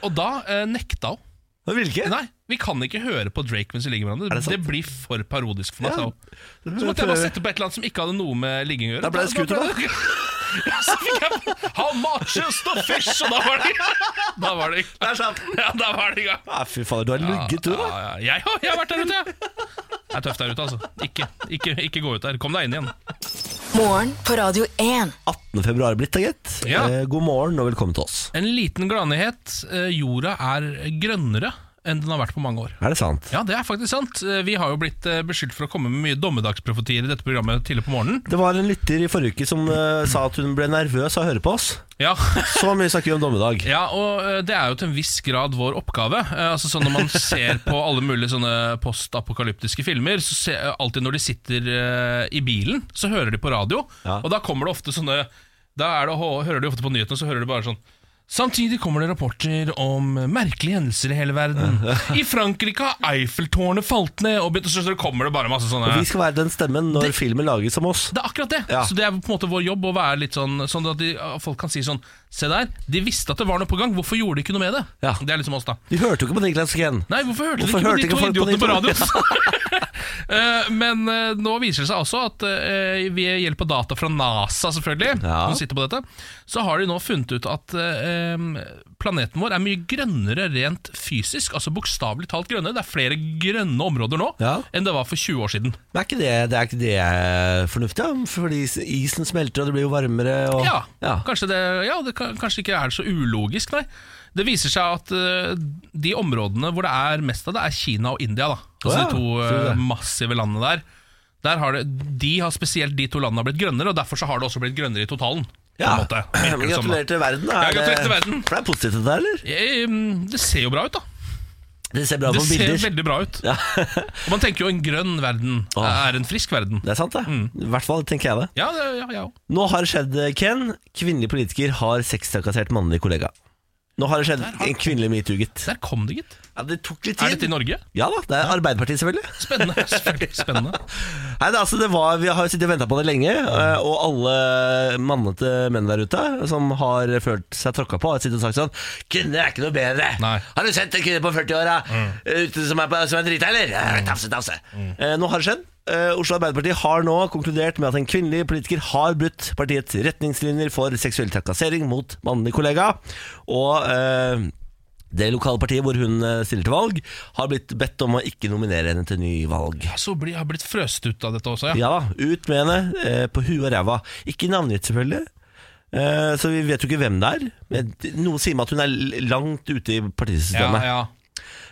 S2: Og da eh, nekta hun.
S1: nå vil ikke.
S2: Nei, vi kan ikke høre på Drake mens vi ligger med hverandre.
S1: det
S2: Det,
S1: sant?
S2: blir for parodisk for
S1: Ja.
S2: meg. sa hun. Så måtte jeg bare sette på et eller annet som ikke hadde noe med ligging å gjøre.
S1: Da ble det scooter, da.
S2: Ja, så fikk jeg How much is the fish? Og da var det Da var det
S1: Der satt den.
S2: Ja, da var det i gang.
S1: Ja, fy faen, du har lugget, du, da.
S2: Ja, ja, jeg, har- jeg har vært der ute, jeg. Det er tøft der ute, altså. Ikke, ikke, ikke gå ut der. Kom deg inn igjen.
S3: Morgen på Radio 1.
S1: 18. februar er blitt, da, gitt.
S2: Ja.
S1: Eh, god morgen og velkommen til oss.
S2: En liten gladnyhet. Eh, Jorda er grønnere enn den har vært på mange år.
S1: Er det sant?
S2: Ja, det er faktisk sant. Eh, Vi har jo blitt eh, beskyldt for å komme med mye dommedagsprofetier i dette programmet tidlig på morgenen.
S1: Det var en lytter i forrige uke som eh, sa at hun ble nervøs av å høre på oss.
S2: Ja,
S1: Så mye snakker vi om dommedag.
S2: Ja, og eh, det er jo til en viss grad vår oppgave. Eh, Altså sånn Når man ser på alle mulige sånne postapokalyptiske filmer, så se, eh, alltid når de sitter eh, i bilen, så hører de på radio.
S1: Ja.
S2: Og da kommer det ofte sånne Da er det, hå- hører de ofte på nyhetene, så hører de bare sånn Samtidig kommer det rapporter om merkelige hendelser i hele verden. I Frankrike har Eiffeltårnet falt ned, og begynt- så så kommer det bare masse sånne
S1: Vi skal være den stemmen når filmen lages om oss.
S2: det er akkurat det.
S1: Ja.
S2: Så det er på en måte vår jobb å være litt sånn Sånn at de, folk kan si sånn Se der, de visste at det var noe på gang, hvorfor gjorde de ikke noe med det?
S1: Ja.
S2: Det er liksom oss, da.
S1: De hørte jo ikke på Niklas Ken.
S2: Nei, hvorfor hørte
S1: Hvorfor
S2: de ikke på
S1: hørte
S2: de to
S1: ikke
S2: idiotene på
S1: folk på de
S2: radio? Eh, Men eh, nå viser det seg altså at eh, ved hjelp av data fra NASA, selvfølgelig,
S1: Ja.
S2: som sitter på dette, så har de nå funnet ut at eh, planeten vår er mye grønnere rent fysisk. Altså bokstavelig talt grønnere. Det er flere grønne områder nå
S1: Ja.
S2: enn det var for 20 år siden.
S1: Men er ikke det, det, er ikke det fornuftig? da? Fordi isen smelter, og det blir jo varmere. Og,
S2: Ja, Kanskje, det, ja det, kan- kanskje ikke er så ulogisk, nei. Det viser seg at eh, de områdene hvor det er mest av det, er Kina og India. da Altså
S1: Å ja,
S2: De to
S1: ser du
S2: eh,
S1: det.
S2: massive landene der. der har det, de har Spesielt de to landene har blitt grønnere, og derfor så har det også blitt grønnere i totalen. På
S1: Ja.
S2: en måte, virker
S1: Men
S2: det som, da.
S1: gratulerer til verden. da.
S2: Ja,
S1: Er det-
S2: gratulerer til verden.
S1: For det er positivt, dette, eller?
S2: Eh, mm, Det ser jo bra ut, da.
S1: Det ser bra ut
S2: Det
S1: på
S2: ser
S1: bilder.
S2: veldig bra ut.
S1: Ja.
S2: Og man tenker jo en grønn verden
S1: Åh.
S2: er en frisk verden.
S1: Det er sant, det. I hvert fall tenker jeg det.
S2: Ja, det, ja, ja.
S1: Nå har det skjedd, Ken. Kvinnelig politiker har sextrakassert mannlig kollega. Nå har det skjedd en kvinnelig metoo, gitt.
S2: Der kom det, gitt.
S1: Ja, det tok litt
S2: Er dette i
S1: tid.
S2: Norge?
S1: Ja da, det er Arbeiderpartiet, selvfølgelig.
S2: Spennende. selvfølgelig, Spennende.
S1: Nei, det, er altså, det var, Vi har jo sittet og venta på det lenge, eh, og alle mannete menn der ute som har følt seg tråkka på, har sittet og sagt sånn Kvinner er ikke noe bedre!
S2: Nei.
S1: Har du sett en kvinne på 40-åra eh, ute som er, på- som er drita, eller? Eh, Tafse, tafse. Eh, nå har det skjedd. Eh, Oslo Arbeiderparti har nå konkludert med at en kvinnelig politiker har brutt partiets retningslinjer for seksuell trakassering mot mannlig kollega. Og eh, det lokale partiet hvor hun eh, stiller til valg, har blitt bedt om å ikke nominere henne til ny valg.
S2: Så blir, har blitt frøst ut av dette også, ja.
S1: Ja da, ut med henne eh, på huet og ræva. Ikke navngitt, selvfølgelig. Eh, så vi vet jo ikke hvem det er. Men Noen sier meg at hun er l- langt ute i partisystemet.
S2: Ja, ja.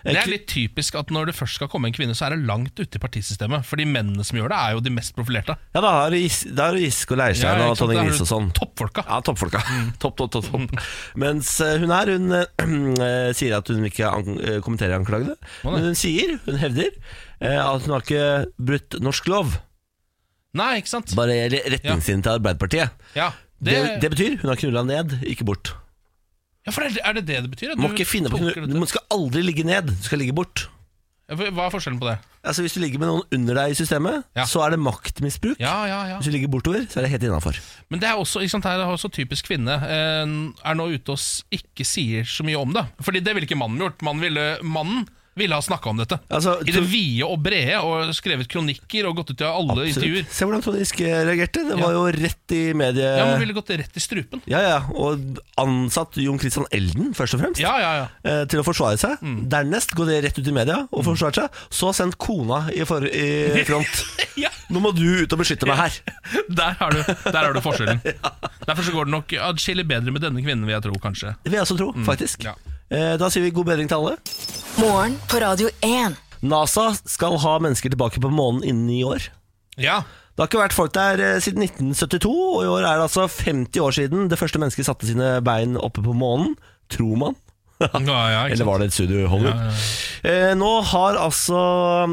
S2: Det er litt typisk at når det først skal komme en kvinne, så er det langt ute i partisystemet. For de mennene som gjør det, er jo de mest profilerte.
S1: Ja, da har du Gis- da har du Giske og Leirstein
S2: Ja,
S1: og
S2: ikke sant?
S1: Tonje
S2: Da Mm. har
S1: Gris
S2: du
S1: og sånn.
S2: Toppfolka.
S1: Ja, toppfolka. Topp, topp, topp, topp. Mens eh, hun her, hun eh, sier at hun ikke an eh, kommenterer anklagene.
S2: Å, nei.
S1: Men hun sier, hun hevder, eh, at hun har ikke brutt norsk lov.
S2: Nei, ikke sant?
S1: Bare re- retningslinjene til Arbeiderpartiet.
S2: Ja,
S1: Det,
S2: det,
S1: det betyr hun har knulla ned, ikke bort.
S2: ja for er det, er det det det betyr? At
S1: Du må
S2: du
S1: ikke finne på
S2: tolker
S1: Du
S2: dette?
S1: skal aldri ligge ned, du skal ligge bort.
S2: Hva er forskjellen på det?
S1: Altså Hvis du ligger med noen under deg i systemet,
S2: Ja.
S1: så er det maktmisbruk.
S2: Ja, ja, ja.
S1: Hvis du ligger bortover, så er det helt innafor.
S2: Men det er også, ikke sant, her er også typisk kvinne eh, Er nå ute og s- ikke sier så mye om det Fordi det ville ikke mannen gjort Mannen ville, mannen ville ha snakket om dette
S1: Altså,
S2: I det
S1: to-
S2: vide og brede Og skrevet kronikker og gått ut i alle intervjuer
S1: Se hvordan Trond Giske reagerte. Det var
S2: Ja.
S1: jo rett i medie...
S2: Ja, man ville gått rett i strupen
S1: Ja, ja, og ansatt Jon Christian Elden, først og fremst,
S2: Ja, ja, Mm. ja
S1: eh, til å forsvare seg. Dernest går det rett ut i media og forsvarer seg. Så sendt kona i, for i front.
S2: Ja,
S1: Nå må du ut og beskytte meg her.
S2: der har du, der har du forskjellen Derfor så går det nok adskillig bedre med denne kvinnen Vil jeg tro, kanskje
S1: Det vil jeg også tro, faktisk.
S2: Mm. Ja.
S1: Eh, Da sier vi god bedring til alle.
S3: Morgen på Radio 1.
S1: NASA skal ha mennesker tilbake på månen innen ni år.
S2: Ja,
S1: Det har ikke vært folk der eh, siden 1972, og i år er det altså 50 år siden det første mennesket satte sine bein oppe på månen. Tror man.
S2: ja, ja ikke
S1: Eller
S2: sant?
S1: var det et studio i Hollywood? Eh, nå har altså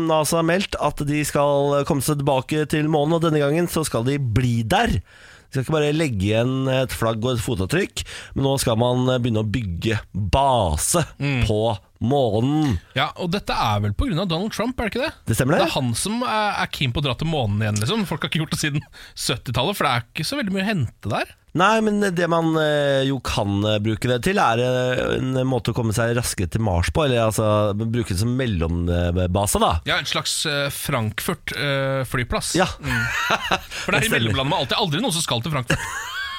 S1: NASA meldt at de skal komme seg tilbake til månen, og denne gangen så skal de bli der. De skal ikke bare legge igjen et flagg og et fotavtrykk, men nå skal man eh, begynne å bygge base på månen.
S2: Ja, og dette er vel på grunn av Donald Trump, er det ikke det?
S1: Det stemmer det.
S2: Det er han som er, er keen på å dra til månen igjen, liksom. Folk har ikke gjort det siden 70-tallet, for det er ikke så veldig mye å hente der.
S1: Nei, men det man eh, jo kan eh, bruke det til, er eh, en måte å komme seg raskere til Mars på. Eller altså bruke det som mellombase, da.
S2: Ja, en slags eh, Frankfurt eh, flyplass.
S1: Ja,
S2: for det er
S1: Mm. det
S2: i
S1: stemmer.
S2: mellomlandet med alltid aldri noen som skal til Frankfurt.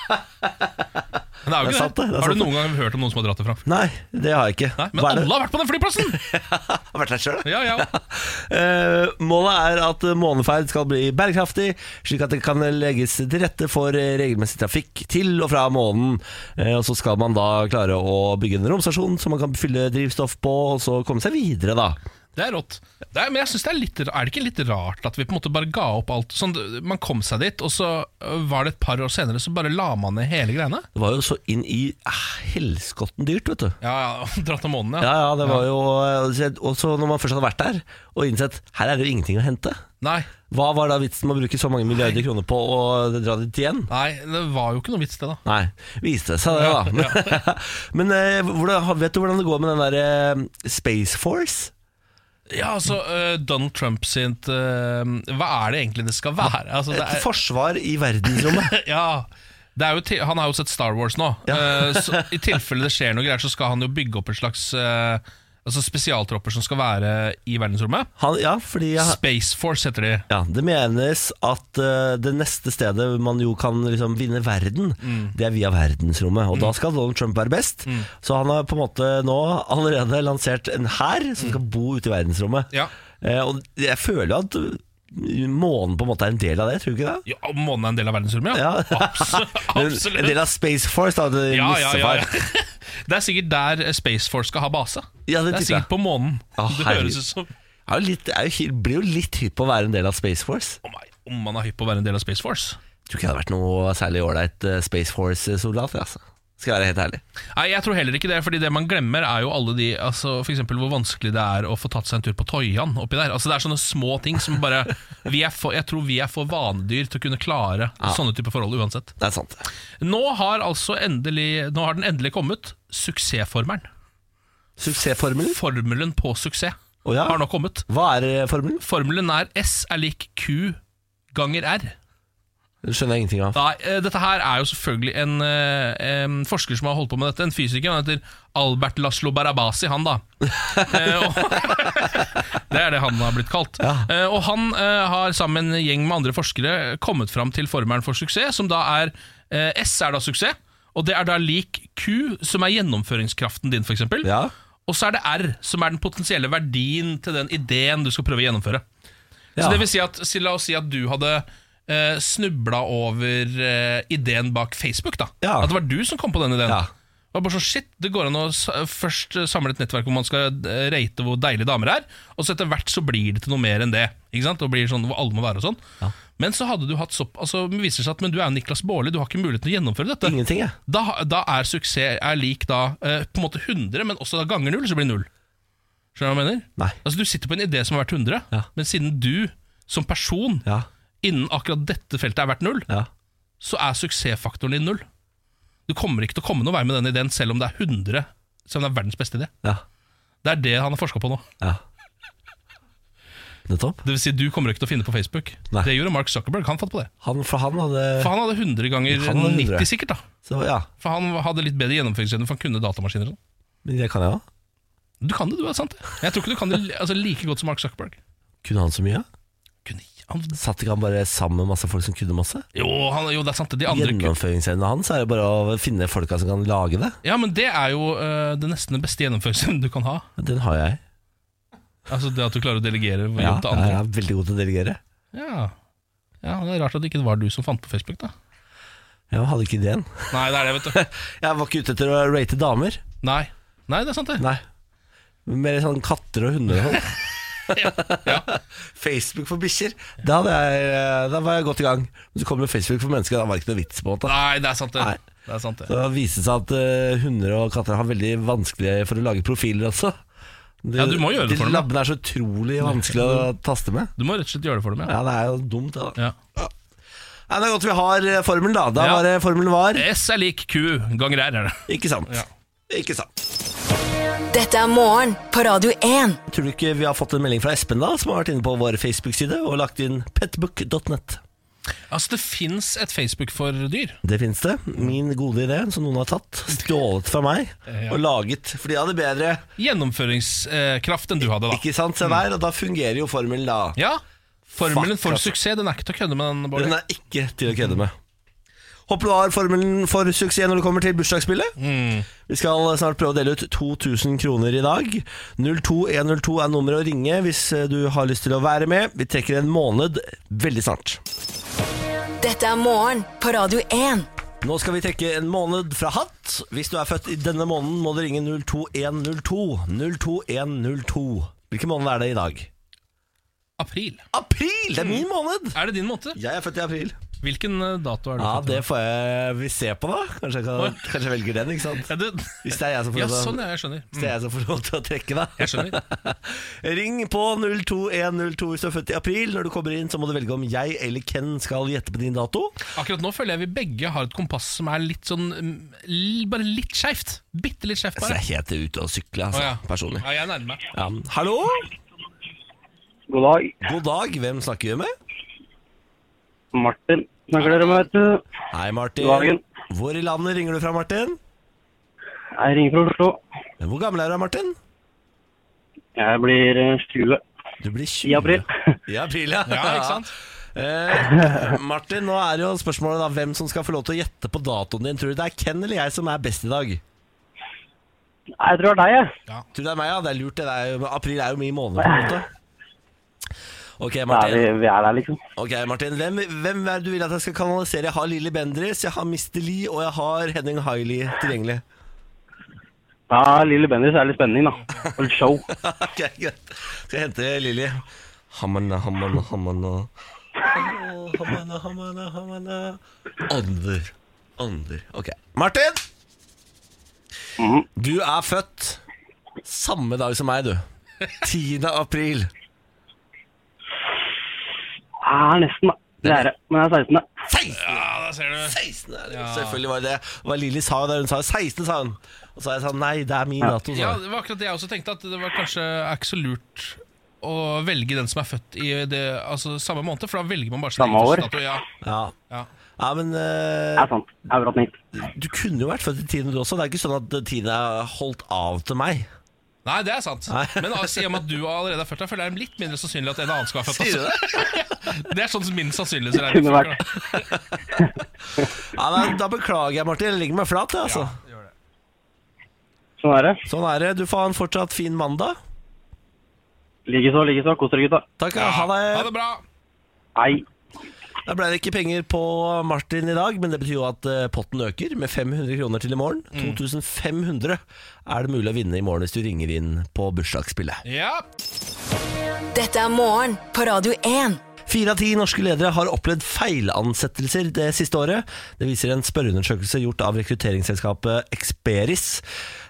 S2: Men
S1: Det
S2: det er jo
S1: er
S2: ikke
S1: sant, det. Det er
S2: Har
S1: sant,
S2: du noen gang hørt om noen som har dratt til Frankfurt?
S1: Nei, det har jeg ikke.
S2: Nei, men
S1: Hva er
S2: alle
S1: det?
S2: har vært på den flyplassen!
S1: Jeg har vært der selv, da.
S2: Ja, ja.
S1: Eh, målet er at måneferd skal bli bærekraftig, slik at det kan legges til rette for eh, regelmessig trafikk til og fra månen. Eh, og Så skal man da klare å bygge en romstasjon som man kan fylle drivstoff på, og så komme seg videre, da.
S2: Det er rått. Det er, men jeg synes det er litt Er det ikke litt rart at vi på en måte bare ga opp alt? Sånn, man kom seg dit, og så eh, var det et par år senere, så bare la man ned hele greiene.
S1: Det var jo så inn i eh, helskotten dyrt, vet du.
S2: Ja, ja, dratt av månen,
S1: Ja, ja, det var jo Og så når man først hadde vært der og innsett her er det jo ingenting å hente,
S2: Nei,
S1: hva var da vitsen med å bruke så mange milliarder kroner på å dra dit igjen?
S2: nei, det var jo ikke noe vits det da
S1: Nei, viste det seg det, da. Men eh, hvordan, vet du hvordan det går med den derre eh, Space Force?
S2: Ja, altså, eh, Donald Trump sitt eh, Hva er det egentlig det skal være? Altså,
S1: Et
S2: det er,
S1: forsvar i verdensrommet.
S2: ja, det er jo til, han har jo sett Star Wars nå Eh, så I tilfelle det skjer noe greier Så skal han jo bygge opp en slags eh, altså Spesialtropper som skal være i verdensrommet
S1: Han, ja, fordi ja,
S2: Space Force heter de
S1: ja, Det menes at eh, det neste stedet man jo kan liksom vinne verden,
S2: Mm.
S1: det er via verdensrommet. Og da skal Donald Trump være best. Så han har på en måte nå allerede lansert en hær som skal bo ute i verdensrommet.
S2: Ja.
S1: Eh, og jeg føler jo at månen på en måte er en del av det, tror du ikke det?
S2: ja, og Månen er en del av verdensrommet, ja,
S1: Ja.
S2: Abs-
S1: Men
S2: Absolutt
S1: En del av Space Force, da. Det
S2: ja, ja, ja,
S1: nissefar.
S2: ja. Det er sikkert der Space Force skal ha base
S1: Ja, det
S2: Det er
S1: tipper jeg.
S2: sikkert på månen
S1: Å,
S2: Det
S1: herregud.
S2: høres ut som
S1: Jeg er jo litt, jeg er jo hy- blir jo litt hypp på å være en del av Space Force.
S2: Å nei, om man er hypp på å være en del av Space Force
S1: Jeg tror ikke jeg hadde vært noe særlig ålreit eh, Space Force-soldat. jeg, Altså. Skal jeg være helt ærlig.
S2: Nei, jeg tror heller ikke det, fordi det man glemmer er jo alle de altså For eksempel hvor vanskelig det er å få tatt seg en tur på Toyan oppi der. Altså Det er sånne små ting som bare vi er for, Jeg tror vi er for vanedyr til å kunne klare sånne typer forhold uansett.
S1: Det er sant.
S2: Nå har altså endelig Nå har den endelig kommet. Suksessformelen.
S1: Suksessformelen?
S2: Formelen på suksess
S1: Å ja.
S2: har nå kommet.
S1: Hva er eh, formelen?
S2: Formelen er S er lik Q ganger R.
S1: Det skjønner jeg ingenting av.
S2: Nei, eh, dette her er jo selvfølgelig en, eh, en forsker som har holdt på med dette, en fysiker. Han heter Albert Laszlo Barabasi, han da. Eh, og, det er det han har blitt kalt. Eh, og han eh, har sammen med en gjeng med andre forskere kommet fram til formelen for suksess, som da er eh, S er da suksess, og det er da lik Q, som er gjennomføringskraften din, f.eks.
S1: Ja.
S2: Og så er det R, som er den potensielle verdien til den ideen du skal prøve å gjennomføre.
S1: Ja.
S2: Så det vil si at, si, la oss si at du hadde eh, snubla over eh, ideen bak Facebook. da
S1: Ja.
S2: At det var du som kom på den ideen.
S1: Ja.
S2: Det var bare sånn, shit, det går an å s først eh, samle et nettverk hvor man skal eh, rate hvor deilige damer er, og så etter hvert så blir det til noe mer enn det. Ikke sant? Og blir sånn hvor alle må være og sånn Men så hadde du hatt sopp Altså det viser seg at Men du er jo Niklas Baarli, du har ikke mulighet til å gjennomføre dette.
S1: Ingenting, jeg.
S2: Da, da er suksess er lik da eh, på en måte 100, men også da ganger null, så blir det null. Skjønner du hva jeg mener?
S1: Nei.
S2: Altså Du sitter på en idé som har vært 100,
S1: Ja.
S2: men siden du som person
S1: Ja.
S2: innen akkurat dette feltet er verdt null,
S1: Ja.
S2: så er suksessfaktoren din null. Du kommer ikke til å komme noen vei med den ideen selv om det er 100, selv om det er verdens beste idé.
S1: Ja.
S2: Det er det han har forska på nå.
S1: ja. Nettopp.
S2: Det vil si, du kommer ikke til å finne på Facebook.
S1: Nei.
S2: Det gjorde Mark Zuckerberg. Han fant på det.
S1: Han, for han hadde
S2: For han hadde 100 ganger
S1: Han hadde 100.
S2: 90 sikkert, da.
S1: så, Ja,
S2: For han hadde litt bedre gjennomføringsevne, for han kunne datamaskiner og sånn.
S1: men det kan jeg òg.
S2: Du kan det, du. er sant det Jeg tror ikke du kan det altså, like godt som Mark Zuckerberg.
S1: Kunne han så mye?
S2: Kunne han
S1: Satt ikke han bare sammen med masse folk som kunne masse?
S2: Jo, han, jo det er sant. det. De andre ku-
S1: Gjennomføringsevnen hans er jo bare å finne folka som kan lage det.
S2: Ja, men det er jo eh, det nesten den beste gjennomførelsen du kan ha.
S1: Den har jeg.
S2: Altså Det at du klarer å delegere jobb
S1: Ja,
S2: til
S1: jeg
S2: andre.
S1: er veldig god til å delegere.
S2: Ja. ja, Det er rart at det ikke var du som fant på Facebook, da.
S1: Jeg hadde ikke ideen.
S2: Nei, det er det, vet du.
S1: Jeg var ikke ute etter å rate damer.
S2: Nei, Nei det er sant, det.
S1: Nei. Mer sånn katter og hunder og sånn.
S2: Ja.
S1: Facebook for bikkjer. Da, hadde jeg- eh, da var jeg godt i gang. Men så kom jo Facebook for mennesker, da var det ikke noe vits på en måte.
S2: Nei, det er sant,
S1: Nei.
S2: det. det, er sant, det.
S1: Så det viste seg at eh, hunder og katter har veldig vanskelig for å lage profiler også. De,
S2: Ja, du må gjøre det
S1: de
S2: for dem, da.
S1: Labbene er så utrolig vanskelig å taste med.
S2: Du må rett og slett gjøre det for dem, ja.
S1: Ja, det er jo dumt, det. da.
S2: ja.
S1: Nei, det er godt vi har eh, formelen, da. Da
S2: Ja.
S1: var det formelen var.
S2: S er lik Q ganger R, er det.
S1: Ikke sant.
S2: Ja.
S1: Ikke sant.
S3: Dette er morgen på Radio 1.
S1: Tror du ikke vi har fått en melding fra Espen, da, som har vært inne på vår Facebook-side og lagt inn petbook.net?
S2: Altså, det fins et Facebook for dyr.
S1: Det finnes det. Min gode idé, som noen har tatt, stjålet fra meg
S2: Ja.
S1: og laget. For de hadde bedre
S2: Gjennomføringskraft enn du hadde, da.
S1: Ikke sant, se der, og da fungerer jo formelen da.
S2: Mm. Ja, Formelen
S1: Fuck,
S2: for
S1: altså.
S2: suksess, den er ikke til å kødde med, den.
S1: Den
S2: Bård.
S1: er ikke til å kødde med. Håper du har formelen for suksess når det kommer til bursdagsspillet.
S2: Mm.
S1: Vi skal snart prøve å dele ut 2000 kroner i dag. 02102 er nummeret å ringe hvis eh, du har lyst til å være med. Vi trekker en måned veldig snart.
S3: Dette er morgen på Radio 1.
S1: Nå skal vi trekke en måned fra hatt. Hvis du er født i denne måneden, må du ringe 02102. 02102. Hvilken måned er det i dag?
S2: April.
S1: April! Det er min måned!
S2: Er det din måte?
S1: Jeg er født i april.
S2: Hvilken eh, dato er du
S1: Ja,
S2: født i?
S1: det får jeg vi se på, da. Kanskje jeg, kan, kanskje jeg velger den, ikke sant?
S2: Ja, du-
S1: Hvis det er jeg som får
S2: ja,
S1: lov til
S2: sånn
S1: å-
S2: ja, jeg skjønner.
S1: hvis det er jeg som får lov til å trekke, da.
S2: Jeg skjønner.
S1: Ring på 02102 hvis du er født i april. Når du kommer inn, så må du velge om jeg eller Ken skal gjette på din dato.
S2: Akkurat nå føler jeg vi begge har et kompass som er litt sånn mm, l- Bare litt skeivt. Bitte litt skeivt,
S1: Så
S2: bare.
S1: jeg er helt ute å sykle, altså.
S2: Å, ja.
S1: Personlig.
S2: Ja, jeg nærmer meg.
S1: Ja. Hallo?
S6: God dag.
S1: God dag. Hvem snakker vi med?
S6: Martin snakker dere med, vet du.
S1: Hei, Martin.
S6: God dagen.
S1: Hvor i landet ringer du fra, Martin?
S6: Jeg ringer fra Oslo.
S1: Men Hvor gammel er du, Martin?
S6: Jeg blir eh, 20
S1: Du blir 20.
S6: i april.
S1: I april, ja.
S2: Ja, ikke sant?
S1: Eh, Martin, nå er jo spørsmålet da hvem som skal få lov til å gjette på datoen din. Tror du det er Ken eller jeg som er best i dag?
S6: Nei, jeg tror det er deg, jeg.
S1: Tror du det er meg, ja? Det er lurt. Det er jo, april er jo min måned, på en måte. Ok,
S6: Nei, vi,
S1: Martin.
S6: vi er der, liksom.
S1: Ok, Martin. Hvem, hvem er det du vil at jeg skal kanalisere? Jeg har Lilly Bendriss, jeg har Mr. Lee, og jeg har Henning Hailey tilgjengelig.
S6: Ja, Lille Bendis er litt spenning, da. Og litt show.
S1: Ok, greit. Skal jeg hente Lilly. Hammerne, hammerne, hammerne. Åh, Hammerne, hammerne, hammerne. Ånder. Ånder. Ok. Martin! Du er født samme dag som meg, du. 10. april.
S6: Jeg er nesten, da. Det er det. Men jeg er 16. da.
S1: 16!
S2: Ja, da ser du.
S1: 16 er det. Selvfølgelig var det det. Hva Lilly sa der hun sa 16, sa hun. Og så sa jeg sånn Nei, det er min dato. sa
S2: Ja,
S1: jeg.
S2: det var akkurat det jeg også tenkte, at det var kanskje er ikke så lurt å velge den som er født i det, altså, samme måned, for da velger man bare sin
S6: Samme
S2: egen
S6: år.
S2: fødselsdato. Ja,
S1: Ja.
S2: ja.
S1: ja, men
S6: Det
S1: eh,
S6: er sant. Jeg har dratt den hit.
S1: du kunne jo vært født i 10. du også. Det er ikke sånn at 10. er holdt av til meg.
S2: Nei, det er sant.
S1: Nei.
S2: Men altså, i og med at du allerede er født, jeg føler jeg det er litt mindre sannsynlig at en annen skal være født.
S1: Sier du det?
S2: Altså. Det er sånn som min
S6: Det kunne
S2: sannsynlighetsregning.
S6: vært.
S1: Ja, nei, da beklager jeg, Martin. Jeg legger meg flat. jeg, Altså.
S6: Sånn er det.
S1: Sånn er det. Du får ha en fortsatt fin mandag.
S6: Likeså, likeså. Kos dere, gutta.
S1: Takk.
S2: Ja.
S1: Ha
S2: Ha
S1: det.
S2: det bra.
S6: Hei.
S1: Da ble det ikke penger på Martin i dag, men det betyr jo at eh, potten øker med 500 kroner til i morgen.
S2: Mm.
S1: 2500 er det mulig å vinne i morgen hvis du ringer inn på bursdagsspillet.
S2: Ja.
S3: Dette er morgen på Radio 1.
S1: Fire av ti norske ledere har opplevd feilansettelser det siste året. Det viser en spørreundersøkelse gjort av rekrutteringsselskapet Experis.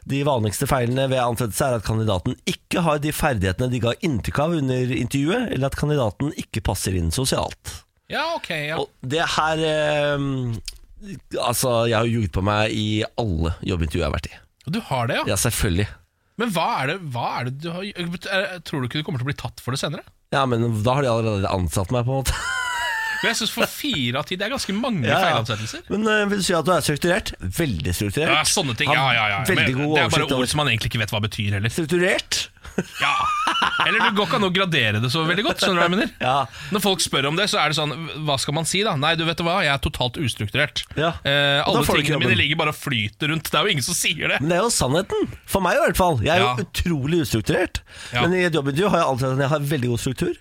S1: De vanligste feilene ved ansettelse er at kandidaten ikke har de ferdighetene de ga inntrykk av under intervjuet, eller at kandidaten ikke passer inn sosialt.
S2: ja, ok. Ja.
S1: Og det her eh, Altså, jeg har ljuget på meg i alle jobbintervjuer jeg har vært i.
S2: Du har det, ja.
S1: Ja, selvfølgelig.
S2: Men hva er det, hva er det du har er- Tror du ikke du kommer til å bli tatt for det senere?
S1: Ja, men da har de allerede ansatt meg, på en måte.
S2: Men jeg syns for fire av ti det er ganske mange
S1: Ja, ja.
S2: feilansettelser.
S1: Men eh, vil du si at du er strukturert? Veldig strukturert.
S2: Ja, sånne ting,
S1: Har
S2: ja, ja, ja. Men
S1: Veldig god
S2: det er bare
S1: oversikt over
S2: ord som man egentlig ikke vet hva betyr heller.
S1: Strukturert?
S2: Ja. Eller det går ikke an å gradere det så veldig godt. skjønner du hva jeg mener?
S1: Ja.
S2: Når folk spør om det, så er det sånn Hva skal man si, da? Nei, du vet du hva, jeg er totalt ustrukturert.
S1: Ja.
S2: Eh,
S1: Og da
S2: alle
S1: får du
S2: tingene
S1: ikke
S2: mine
S1: jobben.
S2: ligger bare og flyter rundt. Det er jo ingen som sier det.
S1: Men det er jo sannheten. For meg i hvert fall. Jeg er
S2: Ja.
S1: jo utrolig ustrukturert.
S2: Ja.
S1: Men i et jobbintervju har jeg alltid sagt at jeg har veldig god struktur.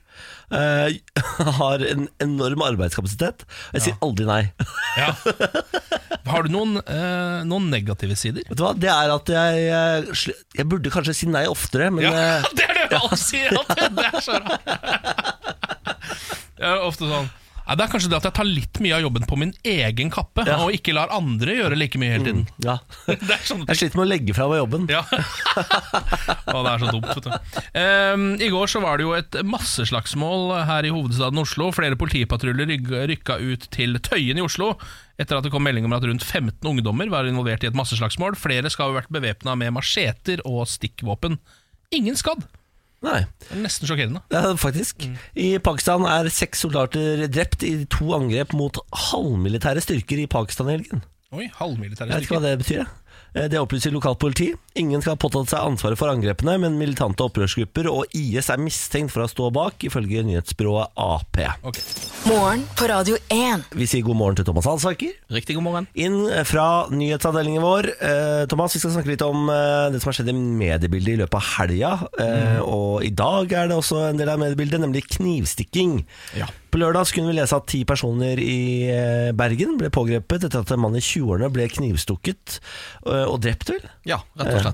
S1: eh, har en enorm arbeidskapasitet. Jeg sier aldri nei.
S2: Ja. Har du noen, eh, noen negative sider?
S1: Vet du hva, det er at jeg eh, sl- Jeg burde kanskje si nei oftere, men
S2: Ja,
S1: eh,
S2: det er det vi alle sier! At det, det er så rart. Jeg er ofte sånn Nei, Det er kanskje det at jeg tar litt mye av jobben på min egen kappe,
S1: Ja.
S2: og ikke lar andre gjøre like mye hele tiden.
S1: ja.
S2: Det er sånn
S1: Jeg sliter med å legge fra meg jobben.
S2: Ja. Å, det er så dumt, vet du. Ehm, I går så var det jo et masseslagsmål her i hovedstaden Oslo. Flere politipatruljer ryg- rykka ut til Tøyen i Oslo etter at det kom melding om at rundt 15 ungdommer var involvert i et masseslagsmål. Flere skal ha vært bevæpna med macheter og stikkvåpen. Ingen skadd.
S1: Nei,
S2: Det er Nesten sjokkerende.
S1: ja, faktisk. I Pakistan er seks soldater drept i to angrep mot halvmilitære styrker i Pakistan i helgen.
S2: Oi, halvmilitære
S1: Jeg vet ikke hva
S2: stykker.
S1: det betyr. jeg. Eh, Det opplyser lokalt politi. Ingen skal ha påtatt seg ansvaret for angrepene, men militante opprørsgrupper og IS er mistenkt for å stå bak, ifølge nyhetsbyrået AP.
S2: Ok.
S3: Morgen på Radio 1.
S1: Vi sier god morgen til Thomas Halsaker.
S2: Riktig god morgen.
S1: Inn eh, fra nyhetsavdelingen vår. Eh, Thomas, vi skal snakke litt om eh, det som har skjedd i mediebildet i løpet av helga.
S7: Mm.
S1: Eh, Og i dag er det også en del av mediebildet, nemlig knivstikking.
S2: Ja.
S1: På lørdag så kunne vi lese at ti personer i eh, Bergen ble pågrepet etter at en mann i 20-årene ble knivstukket eh, og drept, vel? Eh,
S7: Ja, rett og slett.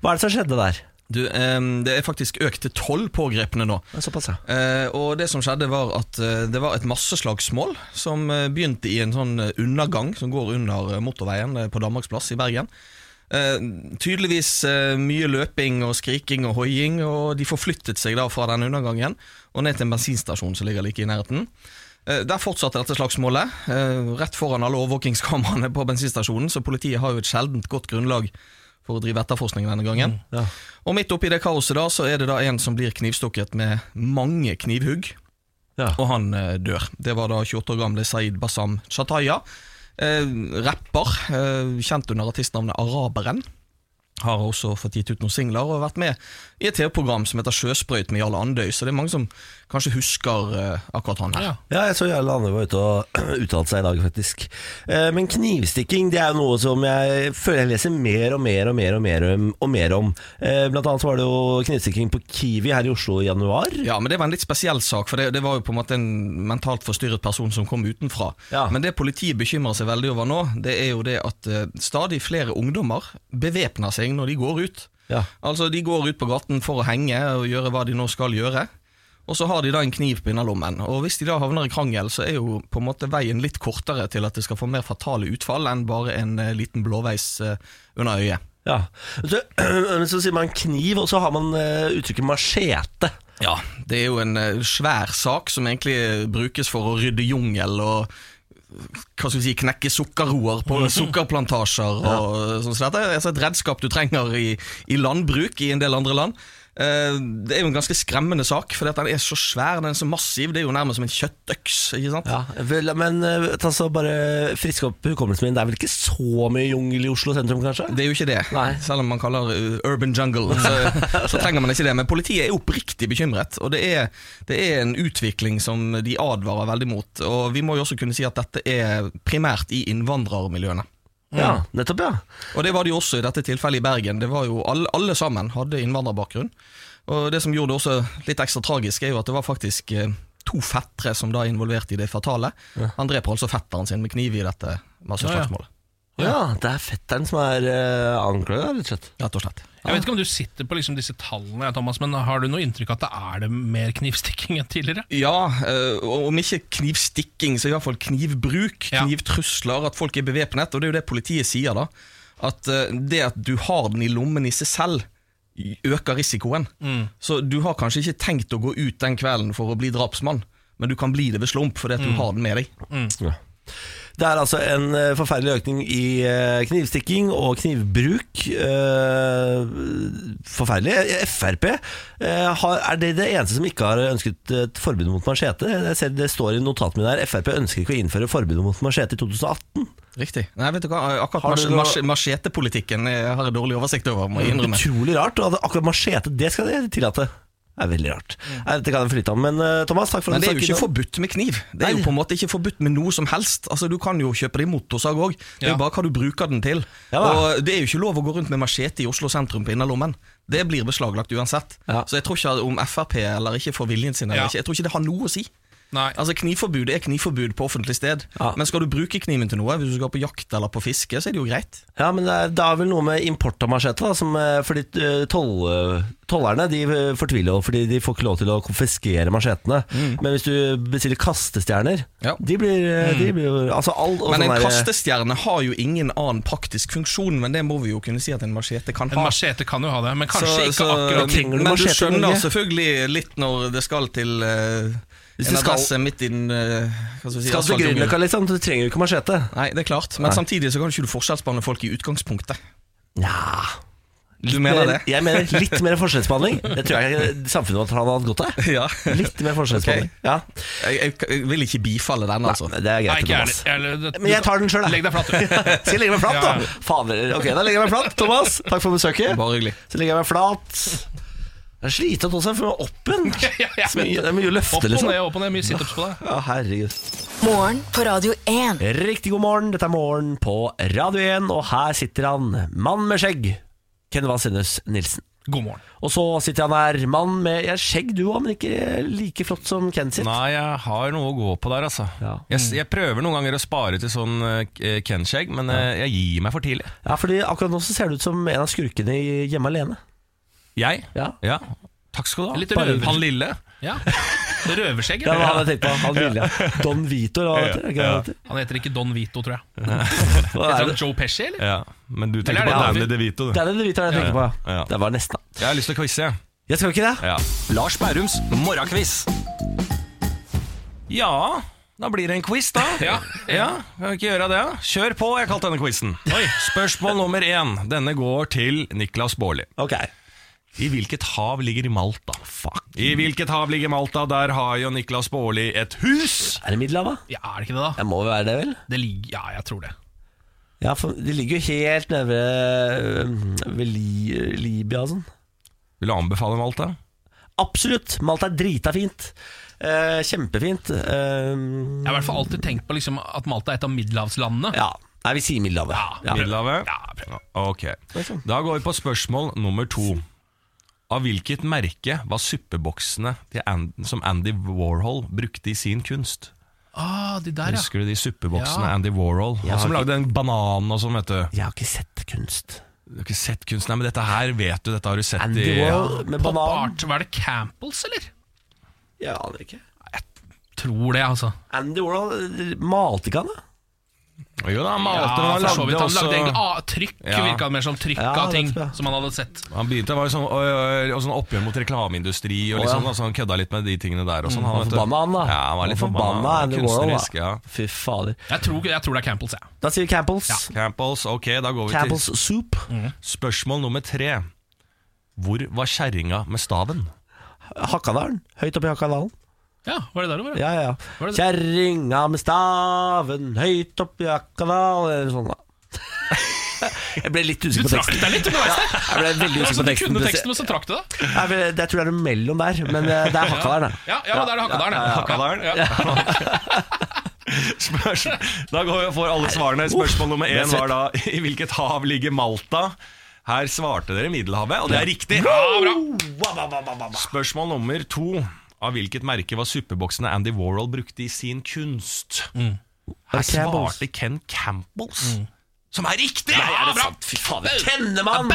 S1: Hva er det som skjedde der?
S7: Du, ehm, det er faktisk økt til tolv pågrepne nå.
S1: Såpass, ja.
S7: Eh, og det som skjedde var at eh, det var et masseslagsmål som eh, begynte i en sånn eh, undergang som går under eh, motorveien eh, på Danmarksplass i Bergen. Eh, tydeligvis eh, mye løping og skriking og hoiing, og de forflyttet seg da fra den undergangen og ned til en bensinstasjon som ligger like i nærheten. Eh, Der fortsatte dette slagsmålet, eh, rett foran alle overvåkingskameraene på bensinstasjonen, så politiet har jo et sjeldent godt grunnlag for å drive etterforskning denne gangen. Og midt oppi det kaoset da, så er det da en som blir knivstukket med mange knivhugg,
S1: Ja.
S7: og han eh, dør. Det var da 28 år gamle Saeed Bassam Shataya, eh, rapper, eh, kjent under artistnavnet Araberen. Har også fått gitt ut noen singler og vært med i et TV-program som heter Sjøsprøyt med Jarle Andøy, så det er mange som kanskje husker eh, akkurat han her.
S2: Ja.
S1: Ja, jeg så Jarle Andøy var ute og uttalte seg i dag, faktisk. Eh, Men knivstikking det er jo noe som jeg føler jeg leser mer og mer og mer og mer om. Og mer om. Eh, Blant annet så var det jo knivstikking på Kiwi her i Oslo i januar.
S7: Ja, men det var en litt spesiell sak, for det, det var jo på en måte en mentalt forstyrret person som kom utenfra.
S1: Ja.
S7: Men det politiet bekymrer seg veldig over nå, det er jo det at eh, stadig flere ungdommer bevæpner seg når de går ut.
S1: Ja.
S7: Altså, de går ut på gaten for å henge og gjøre hva de nå skal gjøre. Og så har de da en kniv på innerlommen, og hvis de da havner i krangel, så er jo på en måte veien litt kortere til at det skal få mer fatale utfall enn bare en eh, liten blåveis eh, under øyet.
S1: Ja. Så, så sier man kniv, og så har man eh, uttrykket machete.
S7: Ja, det er jo en eh, svær sak som egentlig eh, brukes for å rydde jungel og hva skal vi si, knekke sukkerroer på sukkerplantasjer. Og, sånn, så dette er altså et redskap du trenger i, i landbruk i en del andre land. Eh, det er jo en ganske skremmende sak, for den er så svær, den er så massiv. Det er jo nærmest som en kjøttøks. ikke sant?
S1: Ja, vel, men eh, ta så bare frisk opp hukommelsen min. Det er vel ikke så mye jungel i Oslo sentrum, kanskje?
S7: Det er jo ikke det,
S1: Nei.
S7: selv om man kaller det urban jungle. Så, så trenger man ikke det. Men politiet er oppriktig bekymret, og det er, det er en utvikling som de advarer veldig mot. Og vi må jo også kunne si at dette er primært i innvandrermiljøene.
S1: Ja, nettopp, ja.
S7: Og det var det jo også i dette tilfellet i Bergen. Det var jo alle, alle sammen hadde innvandrerbakgrunn. Og det som gjorde det også litt ekstra tragisk, er jo at det var faktisk eh, to fettere som da er involvert i det fatale. Han dreper altså fetteren sin med kniv i dette masseslagsmålet.
S1: Ja, det er fetteren som er uh, anklaga, rett og slett.
S7: Rett og slett.
S2: Jeg vet ikke om du sitter på liksom disse tallene, ja, Thomas, men har du noe inntrykk av at det er det mer knivstikking enn tidligere?
S7: Ja, eh, og om ikke knivstikking, så i hvert fall knivbruk,
S2: Ja.
S7: knivtrusler, at folk er bevæpnet. Og det er jo det politiet sier, da. At eh, det at du har den i lommen i seg selv, i- øker risikoen.
S1: Mm.
S7: Så du har kanskje ikke tenkt å gå
S1: Mm.
S7: ut den kvelden for å bli drapsmann, men du kan bli det ved slump fordi at du har den med deg.
S1: Ja. Det er altså en eh, forferdelig økning i eh, knivstikking og knivbruk. Eh, Forferdelig. Frp, eh, har- er det det eneste som ikke har ønsket et forbud mot machete? Jeg ser Det står i notatene mine her. Frp ønsker ikke å innføre forbud mot machete i 2018.
S7: Riktig. Nei, vet du hva? Eh,
S1: Har
S7: Akkurat
S1: du
S7: mas-
S1: noe-
S7: mas- machetepolitikken eh, har jeg dårlig oversikt over, må jeg innrømme.
S1: Utrolig rart. Og at akkurat machete, det skal de tillate. Det er veldig rart. Nei, Dette kan jeg flytte om. Men eh, Thomas, takk for
S7: Mm. Men
S1: at
S7: det
S1: du
S7: er
S1: snakket
S7: jo ikke
S1: innom.
S7: forbudt med kniv. Det er jo på en måte ikke forbudt med noe som helst. Altså, Du kan jo kjøpe deg motorsag òg, det er
S2: Ja.
S7: jo bare hva du bruker den til.
S1: Ja da.
S7: og det er jo ikke lov å gå rundt med machete i Oslo sentrum på innerlommen. Det blir beslaglagt uansett.
S1: Ja.
S7: Så jeg tror ikke at om Frp eller ikke får viljen sin eller
S2: Ja.
S7: ikke, jeg tror ikke det har noe å si.
S2: Nei.
S7: Altså Knivforbud er knivforbud på offentlig sted,
S1: Ja.
S7: men skal du bruke kniven til noe, hvis du skal på jakt eller på fiske, så er det jo greit.
S1: Ja, men det er, det er vel noe med import av machete, da, som, eh, fordi eh, toll, eh, tollerne de eh, fortviler jo, fordi de får ikke lov til å konfiskere machetene. Men hvis du bestiller kastestjerner,
S7: Ja.
S1: de blir, eh, de blir jo Altså all og
S7: Men en
S1: sånn der-
S7: kastestjerne har jo ingen annen praktisk funksjon, men det må vi jo kunne si at en machete kan
S2: En
S7: ha.
S2: machete kan jo ha det, men kanskje
S7: Så-
S2: ikke
S7: så-
S2: akkurat
S1: trenger du
S7: Men du
S1: machete i
S7: skjønner
S1: Norge?
S7: selvfølgelig litt når det skal til eh,
S1: Hvis
S7: en
S1: det skal-
S7: adresse midt i den eh, hva skal vi si,
S1: Skal til
S7: asfaltjungelen.
S1: Grünerløkka, liksom, du trenger jo ikke machete.
S7: Nei, det er klart, men samtidig så kan ikke du forskjellsbehandle folk i utgangspunktet.
S1: Nja
S7: Du mener det?
S1: Jeg mener litt mer forskjellsbehandling. Det tror jeg eh, samfunnet vårt hadde hatt godt av.
S7: Ja.
S1: Litt mer forskjellsbehandling. Ja.
S7: Jeg, jeg, jeg vil ikke bifalle den, altså.
S1: Det er
S2: Nei,
S1: greit,
S2: ikke jeg
S1: Thomas.
S2: heller. Jeg- det-
S1: Men jeg tar den sjøl, jeg.
S2: Legg deg flat, du.
S1: Skal jeg legge meg flat, da?
S2: Ja.
S1: Fader. Ok, da legger jeg meg flat. Thomas, takk for besøket.
S7: Bare hyggelig.
S1: Så legger jeg meg flat. Jeg er sliten også, for jeg er oppen.
S2: Ja, jeg
S1: Så mye-
S2: vet
S1: Det er mye å
S2: Opp
S1: løfte,
S2: og
S1: liksom.
S2: ned, opp og ned. Mye situps på deg.
S1: Ja, herregud.
S3: Morgen på Radio 1.
S1: Riktig god morgen, dette er Morgen på Radio 1, og her sitter han, mann med skjegg, Ken Vasenus Nilsen.
S2: God morgen.
S1: Og så sitter han her, mann med ja, skjegg du òg, men ikke like flott som Ken sitt.
S8: Nei, jeg har noe å gå på der, altså.
S1: Ja.
S8: Jeg,
S7: Mm.
S8: s- jeg prøver noen ganger å spare til sånn eh, Ken-skjegg, men eh, jeg gir meg for tidlig.
S1: Ja, fordi akkurat nå så ser du ut som en av skurkene i Hjemme alene.
S8: Jeg?
S1: Ja.
S8: Ja. Takk skal du ha.
S2: Litt
S8: Bare-
S2: røver.
S8: Han lille.
S2: Ja. Røverskjegg.
S1: Ja, det
S2: eller?
S1: hadde jeg tenkt på. Han ville. Don Vito, eller hva heter det? Er ikke det han heter?
S2: Han heter ikke Don Vito, tror jeg.
S1: Hva
S2: Heter
S1: er
S2: han
S1: det?
S2: Joe Pesci, eller?
S8: Ja. Men du
S2: Eller er
S8: tenker
S2: det
S8: på
S2: David?
S8: Danny DeVito, du.
S1: Det er det Vito jeg tenker
S8: Ja,
S1: på.
S8: ja.
S1: ja. Det var nesten.
S8: Jeg har lyst til å quize, jeg.
S1: Jeg skal jo ikke det.
S8: Ja. Lars Bærums morgenkviss. Ja, da blir det en quiz, da.
S2: Ja.
S8: Ja, kan vi ikke gjøre det? Kjør på, jeg kalte denne quizen. Spørsmål nummer én. Denne går til Niklas Baarli.
S1: Ok.
S8: I hvilket hav ligger Malta? I hvilket hav ligger Malta? Der har jo Niklas Baarli et hus.
S1: Er det Middelhavet?
S2: Ja, er det ikke det, da?
S1: Det må vel være det, vel?
S2: Det ligger, ja, jeg tror det.
S1: Ja, for De ligger jo helt nede ved, øh, ved Li, Libya og sånn.
S8: Vil du anbefale Malta?
S1: Absolutt! Malta er drita fint. Eh, kjempefint. Eh,
S2: Jeg har i hvert fall alltid tenkt på liksom, at Malta er et av middelhavslandene.
S1: ja. Nei, vi sier Middelhavet. Ja. Liksom.
S8: Middelhavet?
S2: Ja, prøv.
S8: Ok. Da går vi på spørsmål nummer to. Av hvilket merke var suppeboksene til An- som Andy Warhol brukte i sin kunst?
S2: Ah, de der, ja.
S8: Husker du de suppeboksene
S2: Ja.
S8: Andy Warhol? Han som
S1: ok.
S8: lagde den bananen og sånn, vet du.
S1: Jeg har ikke sett kunst.
S8: Du har ikke sett kunsten, nei, men dette her vet du, dette har du sett
S1: Andy
S8: i
S1: Warhol med
S2: Pop
S1: banan.
S2: art. Hva er det, Campbells, eller?
S1: Jeg aner ikke.
S2: Tror det, altså.
S1: Andy Warhol eh, malte ikke han, da?
S8: Jo da, han malte, men
S2: Ja,
S8: han
S2: for så
S8: lagde
S2: vidt. Han
S8: også
S2: lagde egentlig ah, trykk,
S8: Ja.
S2: virka det mer som trykk
S1: Ja,
S2: av
S1: det
S2: ting
S1: tror jeg.
S2: som han hadde sett.
S8: Han begynte, det var jo sånn, og, og, og sånn oppgjør mot reklameindustri og
S1: Å,
S8: litt
S1: ja.
S8: sånn, altså, han kødda litt med de tingene der og sånn.
S1: Han var
S8: vet du.
S1: forbanna, han, da.
S8: Ja, han var litt forbanna.
S1: forbanna Andy Warhol,
S8: kunstnerisk,
S1: da.
S8: ja.
S1: Fy fader.
S2: Jeg tror, jeg tror det er Campbells, jeg.
S1: Da sier vi Campbells.
S8: Campbells, ok, da går vi
S1: Campbells soup.
S8: til spørsmål nummer tre. Hvor var kjerringa med staven?
S1: Hakkadalen. Høyt oppi Hakkadalen.
S2: Ja, var det der det var?
S1: Ja, ja.
S2: Var det det?
S1: Kjerringa med staven høyt oppi Akkadal Eller sånn, da. Jeg ble litt
S2: Du
S1: usikker på
S2: trakk
S1: teksten.
S2: deg litt underveis der!
S1: Jeg ble veldig usikker
S2: Altså, du
S1: på teksten.
S2: kunne teksten, men så trakk du deg.
S1: Jeg, ble, jeg tror det er mellom der, men eh, det er Hakkadalen, da.
S2: Ja, ja, men da er det Hakadalen. Ja,
S8: Hakadalen.
S2: Ja.
S8: Spørs. Da går vi og får alle svarene. Spørsmål nummer én var da i hvilket hav ligger Malta? Her svarte dere Middelhavet, og det er riktig. Spørsmål nummer to. Av hvilket merke var suppeboksene Andy Warhol brukte i sin kunst? Her
S1: Campbells.
S8: svarte Ken Campbells, som Mm. er riktig!
S2: Ja, bra.
S1: Fy fader, Tennemann!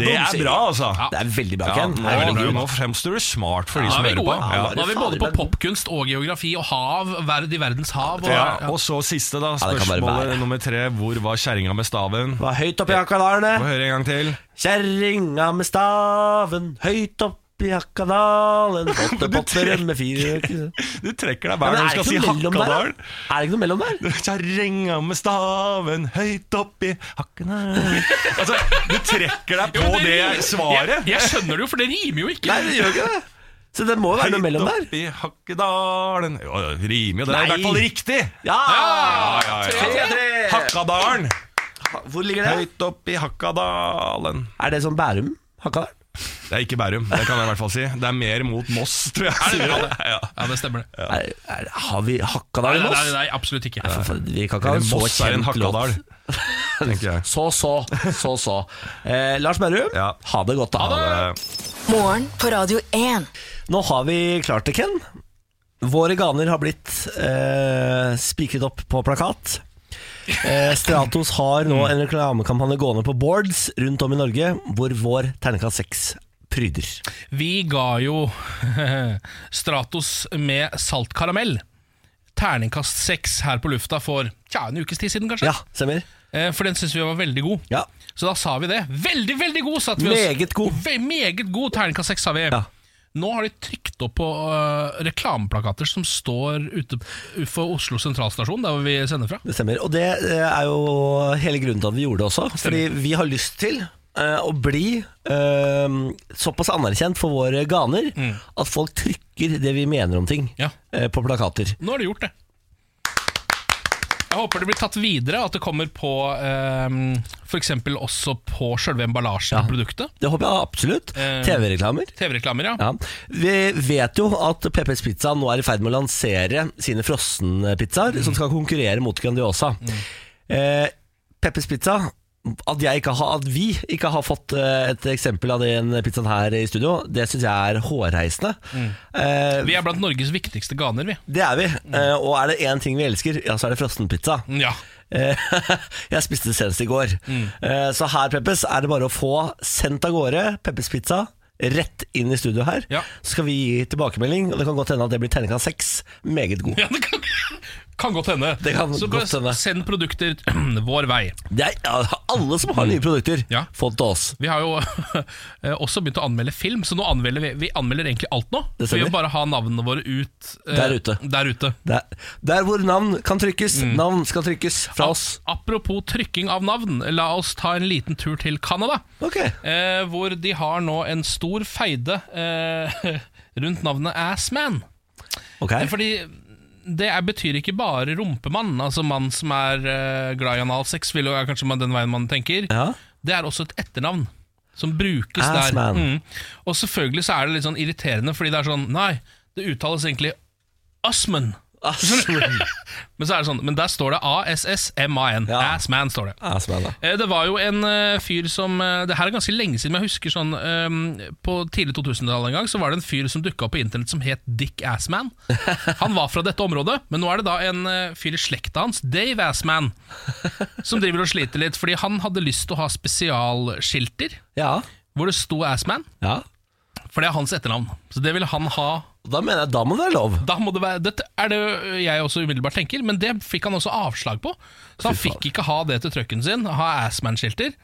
S8: Det er bra, altså.
S1: Det er veldig bra,
S8: Ja,
S1: Ken.
S8: nå,
S1: Det er veldig
S8: nå
S1: bra.
S8: fremstår du smart for de
S2: Nå
S8: som
S2: er vi
S8: hører på.
S2: gode.
S8: Ja.
S2: Nå er vi både på popkunst og geografi og hav, verd i verdens hav. Og,
S8: Ja, og så siste, da.
S1: det kan bare
S8: Spørsmålet
S1: være.
S8: nummer tre. Hvor var kjerringa med staven?
S1: eh. Det var høyt oppi Hakkadalen, det.
S8: Få høre en gang til.
S1: Kjerringa med staven høyt opp opp i Hakadalen,
S8: tre-
S1: potte-potte, rømmefyr
S8: Du trekker deg
S1: Ja,
S8: hver
S1: men
S8: gang
S1: er det
S8: du skal
S1: ikke
S8: si
S1: noe mellom der? da?
S8: Hakkadal.
S1: Er det ikke noe mellom der?
S8: Kjerringa med staven høyt oppi hakkene Altså, du trekker deg
S2: Jo,
S8: på
S2: men
S8: det
S2: rimer-
S8: svaret.
S2: Jeg, jeg skjønner det jo, for det rimer jo ikke.
S1: Nei, det gjør ikke det. Så det må jo være noe
S8: Høyt
S1: mellom der.
S8: oppi Hakkedalen Jo, jo, det rimer jo. Det er
S1: Nei.
S8: i hvert fall riktig.
S1: Ja!
S8: ja, ja.
S1: Tre, tre.
S8: Hakkadalen.
S1: Hvor ligger det?
S8: Høyt oppi Hakkadalen.
S1: Er det sånn Bærum? Hakadal?
S8: Det er ikke Bærum, det kan jeg i hvert fall si. Det er mer mot Moss, tror jeg. Ja.
S2: Ja, det stemmer det.
S1: Er, er, har vi
S2: Nei,
S1: Hakadal i
S2: nei,
S1: Moss?
S2: nei, nei absolutt ikke.
S1: For faen, Vi kan ikke ha
S8: Eller
S1: en så
S8: Moss er en
S1: kjent
S8: Hakkadal,
S1: låt.
S8: tenker jeg.
S1: Så, så, så, så. Eh, Lars Berrum,
S8: Ja.
S1: ha det godt, da.
S8: Eh,
S3: Morgen på Radio 1.
S1: Nå har vi klart det, Ken. Våre ganer har blitt eh, spikret opp på plakat. Eh, Stratos har nå en reklamekampanje gående på boards rundt om i Norge, hvor vår terningkast 6 pryder.
S2: Vi ga jo Stratos med salt karamell. Terningkast seks her på lufta for tja, en ukes tid siden, kanskje.
S1: Ja, stemmer?
S2: Eh, For den syns vi var veldig god.
S1: Ja.
S2: Så da sa vi det. Veldig, veldig god, satte vi oss.
S1: Meget god.
S2: Ve meget god terningkast seks, sa vi.
S1: Ja.
S2: Nå har de trykt opp på øh, reklameplakater som står ute for Oslo sentralstasjon, der hvor vi sender fra.
S1: Det stemmer. Og det eh, er jo hele grunnen til at vi gjorde det også. Fordi vi har lyst til eh, å bli eh, såpass anerkjent for våre ganer at folk trykker det vi mener om ting
S2: Mm. Ja.
S1: eh, på plakater.
S2: Nå har de gjort det. Jeg håper det blir tatt videre, at det kommer på um, f.eks. også på sjølve emballasjen i produktet.
S1: Det håper jeg absolutt.
S2: Eh.
S1: TV-reklamer.
S2: TV-reklamer, ja.
S1: Ja. Vi vet jo at Peppers Pizza nå er i ferd med å lansere sine frossenpizzaer, som skal konkurrere mot Grandiosa. Eh, Peppers Pizza at, jeg ikke har, at vi ikke har fått eh, et eksempel av den pizzaen her i studio, det syns jeg er hårreisende. Eh,
S2: Vi er blant Norges viktigste ganer, vi.
S1: det er vi. Eh, og er det én ting vi elsker, ja, så er det frossenpizza.
S2: Ja.
S1: Eh, jeg spiste det senest i går.
S2: Mm.
S1: Eh, Så her, Peppes, er det bare å få sendt av gårde Peppes pizza rett inn i studio her.
S2: Ja.
S1: Så skal vi gi tilbakemelding, og det kan godt hende at det blir terningkast seks. Meget god.
S2: ja det kan, kan godt hende.
S1: Det kan
S2: Så
S1: godt
S2: bare
S1: hende.
S2: send produkter vår vei.
S1: Det er ja, alle som har nye produkter,
S2: Mm. Ja.
S1: få det til oss.
S2: Vi har jo eh, også begynt å anmelde film, så nå anmelder vi, vi anmelder egentlig alt nå.
S1: Det
S2: Vi
S1: stemmer.
S2: vil bare ha navnene våre ut eh,
S1: Der ute.
S2: Der ute.
S1: Der, der hvor navn kan trykkes.
S2: Mm.
S1: Navn skal trykkes fra oss.
S2: Apropos trykking av navn, la oss ta en liten tur til Canada.
S1: Ok,
S2: Eh, hvor de har nå en stor feide eh, rundt navnet Assman.
S1: ok
S2: Fordi det er, betyr ikke bare rumpemann, altså mann som er eh, glad i analsex, vil jo er kanskje man- den veien man tenker.
S1: Ja.
S2: Det er også et etternavn som brukes
S1: Assman.
S2: der. Mm. Og selvfølgelig så er det litt sånn irriterende, fordi det er sånn Nei, det uttales egentlig Usman.
S1: Ah, Asman.
S2: Men så er det sånn, men der står det ASSMAN.
S1: Ja.
S2: Assman står det.
S1: Asman, ja.
S2: Eh, Det var jo en eh, fyr som eh, Det her er ganske lenge siden, men jeg husker sånn eh, På tidlig 2000-tallet en gang Så var det en fyr som dukka opp på internett som het Dick Assman. Han var fra dette området, men nå er det da en eh, fyr i slekta hans, Dave Assman, som driver og sliter litt, fordi han hadde lyst til å ha spesialskilter
S1: ja.
S2: hvor det sto Assman,
S1: ja.
S2: for det er hans etternavn. Så det ville han ha.
S1: Da mener jeg da må det være lov.
S2: Da må det være Dette er det jeg også umiddelbart tenker, men det fikk han også avslag på. Så han
S1: Fy faen.
S2: fikk ikke ha det til trucken sin, ha Assman-skilter.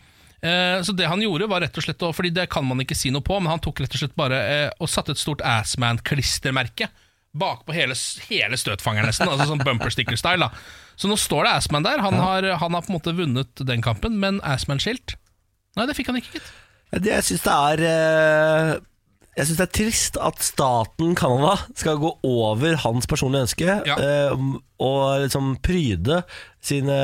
S2: Eh, Så det han gjorde, var rett og slett å Fordi det kan man ikke si noe på, men han tok rett og slett bare eh, og satte et stort Assman-klistremerke bakpå hele, s- hele støtfangeren, nesten. Altså sånn bumper sticker-style. da Så nå står det Assman der. Han har, han har på en måte vunnet den kampen, men Assman-skilt Nei, det fikk han ikke, gitt.
S1: Det, jeg syns det er eh, Jeg synes det er trist at staten Canada skal gå over hans personlige ønske
S2: Ja.
S1: eh, og liksom pryde sine,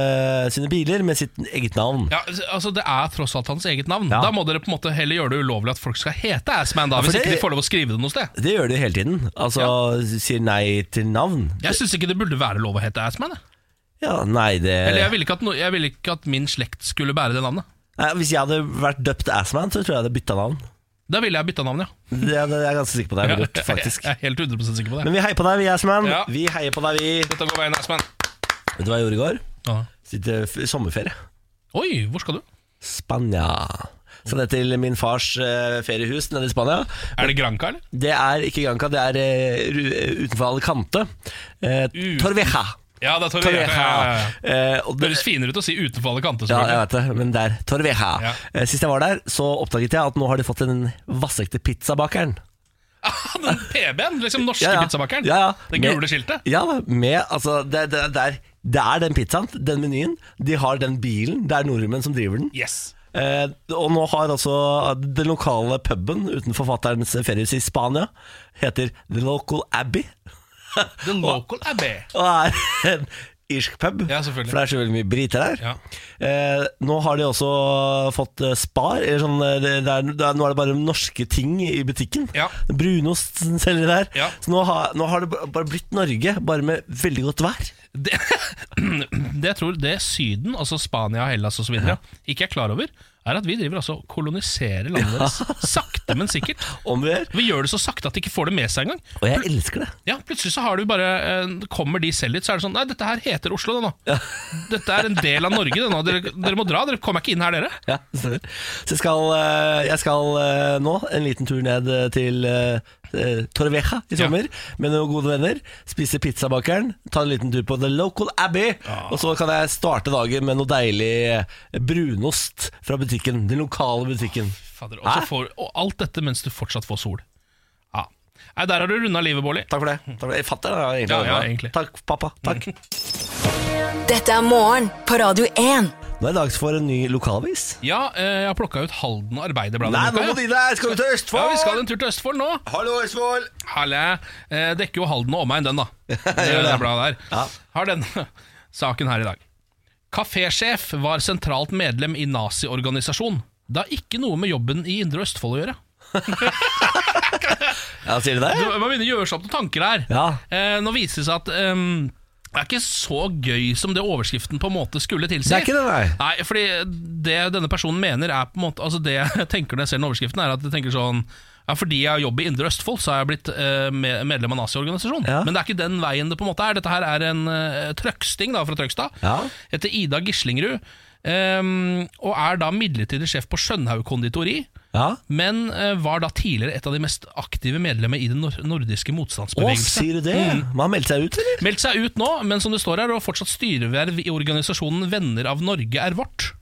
S1: sine biler med sitt eget navn.
S2: Ja, altså Det er tross alt hans eget navn.
S1: Ja.
S2: Da må dere på en måte heller gjøre det ulovlig at folk skal hete Assman, da,
S1: Ja, for
S2: hvis ikke
S1: det-
S2: de får lov å skrive det noe sted.
S1: Det gjør de jo hele tiden. Altså sier nei til navn.
S2: Jeg syns ikke det burde være lov å hete Assman. jeg.
S1: Ja, nei, det
S2: Eller jeg ville ikke, at no, jeg ville ikke at min slekt skulle bære det navnet.
S1: nei, Hvis jeg hadde vært døpt Assman, så tror jeg jeg hadde bytta navn.
S2: Da ville jeg bytta navn, ja.
S1: Det er jeg er ganske sikker på det jeg ville gjort, faktisk.
S2: Jeg er helt 100 sikker på det.
S1: Men vi heier på deg, vi, Assman.
S2: Ja.
S1: Vi heier på deg, vi.
S2: Dette går veien, Assman.
S1: Vet du hva jeg gjorde i går?
S2: Ja.
S1: Sitte f- sommerferie.
S2: Oi, hvor skal du?
S1: Spania. Så det er til min fars eh, feriehus nede i Spania.
S2: Er det Granca, eller?
S1: Det er ikke Granca, det er eh, ru- utenfor Alicante. Eh,
S2: Ut-
S1: Torveja.
S2: Ja, det er Torre.
S1: Torveja.
S2: Ja, ja, ja.
S1: Eh, og
S2: Det
S1: det,
S2: høres finere ut å si utenfor alle kanter.
S1: ja, jeg
S2: selvfølgelig.
S1: vet det, men det er Torveja.
S2: Ja.
S1: Eh, sist jeg var der, så oppdaget jeg at nå har de fått en vassekte pizzabakeren.
S2: den PB-en, liksom norske
S1: Ja, ja.
S2: pizzabakeren.
S1: Ja, ja.
S2: Det
S1: Med-
S2: gule skiltet.
S1: Ja, da, med, altså, det, det, det, er, det er den pizzaen, den menyen. De har den bilen. Det er nordmenn som driver den.
S2: Yes.
S1: Eh, og nå har altså den lokale puben utenfor fatterens feriehus i Spania heter The Local Abbey.
S2: The local abbey.
S1: Og er en irsk pub,
S2: Ja,
S1: for
S2: selvfølgelig.
S1: det er så veldig mye briter der.
S2: Ja.
S1: Eh, nå har de også fått eh, Spar. Eller sånn, eh, det, det er, det er, nå er det bare norske ting i butikken.
S2: Ja.
S1: Brunost selger de der.
S2: Ja.
S1: Så nå har, nå har det ba- bare blitt Norge, bare med veldig godt vær.
S2: Det, det jeg tror det Syden, altså Spania, Hellas osv., videre ikke er klar over, er at vi driver altså og koloniserer landet deres. Sakte, men sikkert.
S1: Om vi gjør.
S2: Vi gjør det så sakte at de ikke får det med seg engang.
S1: Og jeg elsker det.
S2: Ja, plutselig så har du bare eh, Kommer de selv dit, så er det sånn Nei, dette her heter Oslo, det nå. Dette er en del av Norge, det nå. Dere, dere må dra. Dere kommer ikke inn her, dere.
S1: Ja, stemmer. Så jeg skal, eh, jeg skal eh, nå en liten tur ned eh, til eh, eh, Torrevieja i sommer med noen gode venner. Spise pizzabakeren, ta en liten tur på The Local Abbey.
S2: Ah.
S1: Og så kan jeg starte dagen med noe deilig eh, brunost fra butikken. Den lokale butikken.
S2: Fader, og, så
S1: Hæ?
S2: får, og alt dette mens du fortsatt får sol. Ja. Nei, der har du runda livet, Bårli.
S1: Takk for det. Takk for det. Jeg fatter det. egentlig.
S2: Ja, ja, egentlig. Mm.
S1: Takk, pappa. Takk.
S3: Dette er morgen på Radio 1.
S1: Nå er det dags for en ny lokalvis.
S2: Ja, eh, jeg har plukka ut Halden Arbeiderblad.
S1: Nei,
S2: denne
S1: nå
S2: uka,
S1: må
S2: ja.
S1: de der! Skal vi til
S2: ja,
S1: Østfold?
S2: Vi skal en tur til Østfold nå.
S1: Hallo, Østfold!
S2: Halle, eh, dekker jo Halden og omegn, den, da. Det, det bladet der.
S1: Ja.
S2: Har denne saken her i dag. Kafésjef var sentralt medlem i naziorganisasjon. Det har ikke noe med jobben i Indre Østfold å gjøre.
S1: Ja, sier de
S2: Du,
S1: det?
S2: man begynner å gjøre seg opp noen tanker her.
S1: Ja.
S2: Eh, nå viser det seg at ehm, det er ikke så gøy som det overskriften på en måte skulle tilsi.
S1: Det er ikke det, nei.
S2: Nei, fordi det denne personen mener er på en måte Altså det jeg tenker når jeg ser den overskriften, er at jeg tenker sånn ja, Fordi jeg jobber i Indre Østfold, så har jeg blitt eh, med- medlem av naziorganisasjon.
S1: Ja.
S2: Men det er ikke den veien det på en måte er. Dette her er en eh, trøksting da, fra Trøgstad.
S1: Ja.
S2: Heter Ida Gislingrud. ehm, og er da midlertidig sjef på Skjønhaug konditori.
S1: Ja.
S2: Men eh, var da tidligere et av de mest aktive medlemmer i den nor nordiske
S1: Å,
S2: motstandsbevegelse.
S1: sier du det?
S2: Mm.
S1: Man har meldt seg ut, eller?
S2: Meldt seg ut nå, men som det står her, og fortsatt styreverv i organisasjonen Venner av Norge er vårt.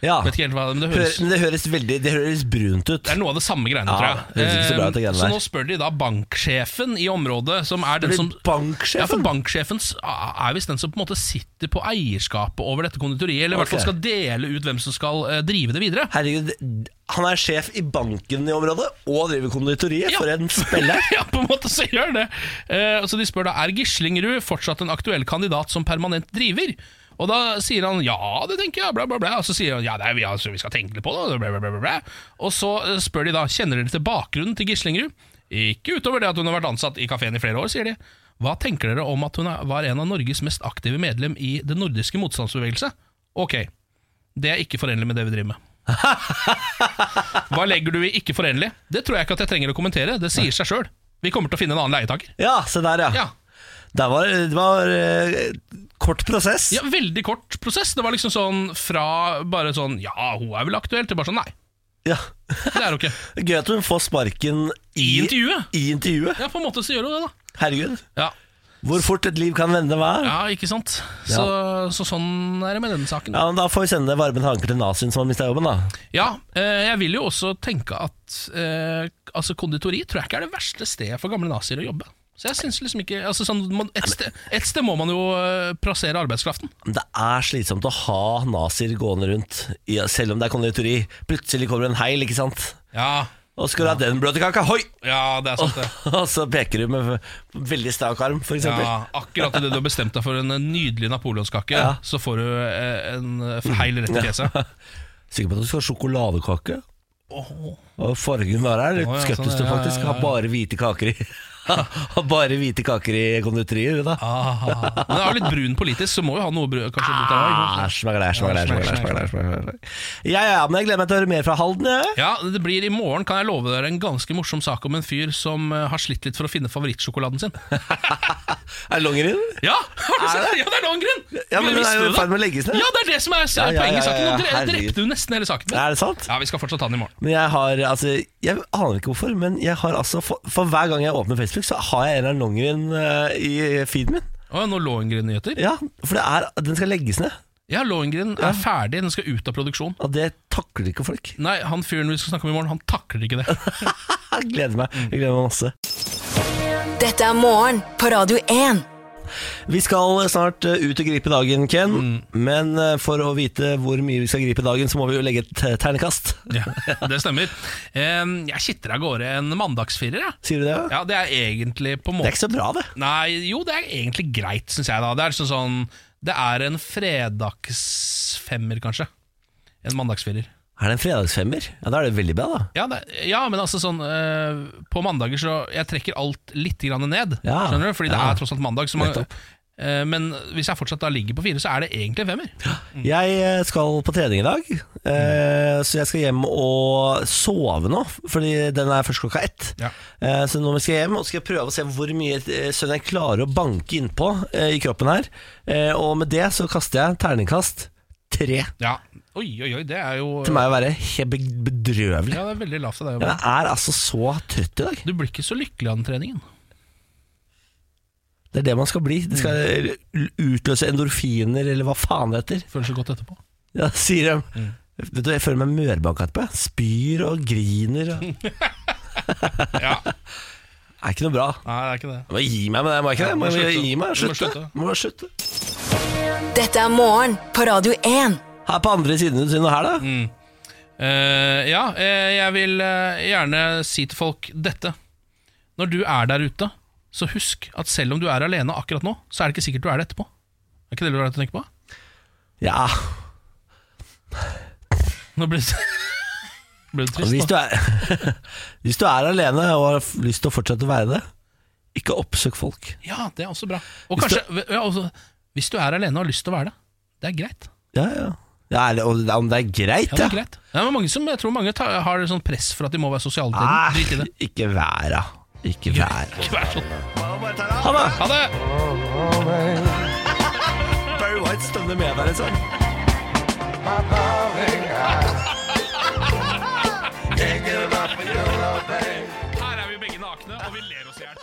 S1: Ja.
S2: Vet ikke helt hva men det
S1: Høres,
S2: høres
S1: men det høres veldig Det høres brunt ut.
S2: det er noe av det samme greiene,
S1: Ja,
S2: tror
S1: det
S2: jeg.
S1: høres ikke så bra ut, det
S2: Eh,
S1: greiene
S2: så
S1: der.
S2: nå spør de da banksjefen i området, som er den
S1: Eller
S2: som
S1: banksjefen?
S2: Ja, for banksjefen s- er visst den som på en måte sitter på eierskapet over dette konditoriet, eller i hvert
S1: Ok.
S2: fall skal dele ut hvem som skal eh, drive det videre.
S1: Herregud, han er sjef i banken i området og driver konditoriet
S2: Ja.
S1: for en spiller.
S2: ja, på en måte så gjør det. Eh, så de spør da er Gislingrud fortsatt en aktuell kandidat som permanent driver. Og da sier han ja, det tenker jeg, bla, bla, bla. Og så sier han ja, det er, vi, altså, vi skal tenke litt på det. Bla, bla, bla, bla, bla. Og så eh, spør de da kjenner dere til bakgrunnen til Gislingrud. Ikke utover det at hun har vært ansatt i kafeen i flere år, sier de. Hva tenker dere om at hun er- var en av Norges mest aktive medlem i den nordiske motstandsbevegelse? Ok, det er ikke forenlig med det vi driver med. Hva legger du i ikke forenlig? Det tror jeg ikke at jeg trenger å kommentere. Det sier seg sjøl. Vi kommer til å finne en annen leietaker.
S1: Ja, se der, ja.
S2: Ja.
S1: Det var, det var eh, kort prosess.
S2: ja, Veldig kort prosess. Det var liksom sånn fra bare sånn Ja, hun er vel aktuell, til bare sånn Nei,
S1: Ja.
S2: det er hun ikke.
S1: Gøy at hun får sparken
S2: I intervjuet.
S1: i intervjuet.
S2: Ja, på en måte så gjør hun det, da.
S1: Herregud,
S2: Ja,
S1: hvor fort et liv kan vende hva? Ja.
S2: ja ikke sant? Så, så sånn er det med den saken.
S1: men Da får vi sende varme tanker til nazien som har mista jobben, da.
S2: Ja, eh, jeg vil jo også tenke at eh, Altså konditori tror jeg ikke er det verste stedet for gamle nazier å jobbe. Så jeg synes liksom ikke altså sånn, man, et, sted, et sted må man jo eh, plassere arbeidskraften.
S1: Men Det er slitsomt å ha nazier gående rundt, i- selv om det er konditori. Plutselig kommer en heil, ikke sant.
S2: Ja,
S1: Og skal du ha den bløtkaka, hoi!
S2: ja det er sant, det.
S1: Og så peker du med veldig strak arm, for eksempel.
S2: Ja, akkurat idet du har bestemt deg for en nydelig napoleonskake,
S1: Ja.
S2: så får du eh, en feil rett i fjeset.
S1: Sikker på at du skal ha sjokoladekake? Og fargen var her, litt
S2: Å, ja, sånn,
S1: skeptisk
S2: ja, ja,
S1: faktisk. Har
S2: ja, ja.
S1: bare hvite kaker i Har bare hvite kaker i konditoriet, da.
S2: Ah, men er du litt brun politisk, så må jo ha noe brød. Kanskje litt av
S1: Ah,
S2: det,
S1: smagler, smagler,
S2: Ja,
S1: smagler, smagler,
S2: smagler,
S1: smagler. Ja, ja, men jeg gleder meg til å høre mer fra Halden, jeg.
S2: ja, Det blir i morgen, kan jeg love dere, en ganske morsom sak om en fyr som eh, har slitt litt for å finne favorittsjokoladen sin.
S1: Er det Longyearbyen?
S2: Ja, har du sett det? Ja, det er Longren!
S1: Ja, men den er
S2: Visste
S1: jo
S2: du
S1: i ferd med å legges ned.
S2: Ja, det er det som er s-
S1: Ja, ja,
S2: poenget i saken.
S1: ja, ja,
S2: Nå dre-
S1: herregud.
S2: drepte du nesten hele saken.
S1: Er det sant?
S2: Ja, vi skal fortsatt ta den i morgen.
S1: Men jeg har altså Jeg aner ikke hvorfor, men jeg har altså for, for hver gang jeg åpner Facebook, så har jeg en eller annen Longyearbyen eh, i feeden min.
S2: Å, nå Longren-nyheter.
S1: Ja, for det er, den skal legges ned.
S2: Ja, Longren er ferdig, den skal ut av produksjon.
S1: Og det takler ikke folk.
S2: Nei, han fyren vi skal snakke om i morgen, han takler ikke det.
S1: Jeg gleder meg. Jeg gleder meg masse.
S3: Dette er morgen på Radio 1.
S1: Vi skal snart eh, ut og gripe dagen, Ken.
S2: Mm.
S1: Men eh, for å vite hvor mye vi skal gripe dagen, så må vi jo legge et eh, ternekast.
S2: Ja, det stemmer. Eh, Jeg kitter av gårde en mandagsfirer, jeg.
S1: Sier du det?
S2: Ja, det er egentlig på
S1: Det
S2: en måte
S1: er ikke så bra, det.
S2: Nei, jo, det er egentlig greit, syns jeg. da Det er liksom sånn Det er en fredagsfemmer, kanskje. En mandagsfirer.
S1: Er det en fredagsfemmer? Ja, Da er det veldig bra, da.
S2: Ja, det, ja, men altså sånn eh, På mandager så Jeg trekker alt litt grann ned,
S1: Ja,
S2: skjønner du? Fordi det
S1: ja.
S2: er tross alt mandag. Så man,
S1: Nettopp.
S2: eh, men hvis jeg fortsatt da ligger på fire, så er det egentlig en femmer.
S1: Jeg eh, skal på trening i dag,
S2: Mm.
S1: eh, så jeg skal hjem og sove nå, fordi den er først klokka ett.
S2: Ja.
S1: Eh, Så nå skal jeg hjem og skal jeg prøve å se hvor mye eh, søvn jeg klarer å banke innpå eh, i kroppen her. Eh, Og med det så kaster jeg terningkast tre.
S2: Ja. Oi, oi, oi, det er jo
S1: Til meg å være helt be- bedrøvelig.
S2: Ja, det er veldig lavt av deg.
S1: Jeg
S2: Jobben.
S1: er altså så trøtt i dag.
S2: Du blir ikke så lykkelig av den treningen.
S1: Det er det man skal bli. Det skal
S2: Mm.
S1: utløse endorfiner, eller hva faen det heter.
S2: Føler så godt etterpå.
S1: Ja, sier de.
S2: Mm.
S1: Vet du, Jeg føler meg mørbanka etterpå. jeg. Spyr og griner.
S2: Mm.
S1: og-
S2: Ja,
S1: Det er ikke noe bra.
S2: Nei, det er ikke det.
S1: Jeg må gi meg med det, må jeg ikke det?
S2: Ja,
S1: Jeg
S2: du må
S1: Må
S2: slutte.
S1: gi meg,
S2: Du må
S1: slutte.
S2: slutte.
S1: Må bare slutte.
S3: Dette er morgen på Radio 1.
S1: Her på andre siden sin og her, da.
S2: Mm. Eh, ja, eh, jeg vil eh, gjerne si til folk dette. Når du er der ute, så husk at selv om du er alene akkurat nå, så er det ikke sikkert du er det etterpå. Er ikke det du har tenkt på?
S1: Ja,
S2: Nå ble det, ble det
S1: hvis
S2: trist,
S1: du
S2: da.
S1: er, hvis du er alene og har lyst til å fortsette å være det, ikke oppsøk folk.
S2: Ja, det er også bra. Og
S1: Hvis du-
S2: kanskje, ja, også, hvis du er alene og har lyst til å være det, det er greit.
S1: Ja, ja. ja er det- og det- om det er greit, ja.
S2: Ja, det er greit. Ja, men mange som, jeg tror mange tar, har sånn press for at de må være sosiale til
S1: Nei,
S2: den. Drit i det.
S1: ikke vær, da. Ikke vær.
S2: Ikke vær sånn.
S1: Ha det!
S2: Ha det!
S1: Barry White stønner med deg,
S2: altså.
S1: liksom.
S2: Her er vi begge nakne, og vi ler oss i hjel.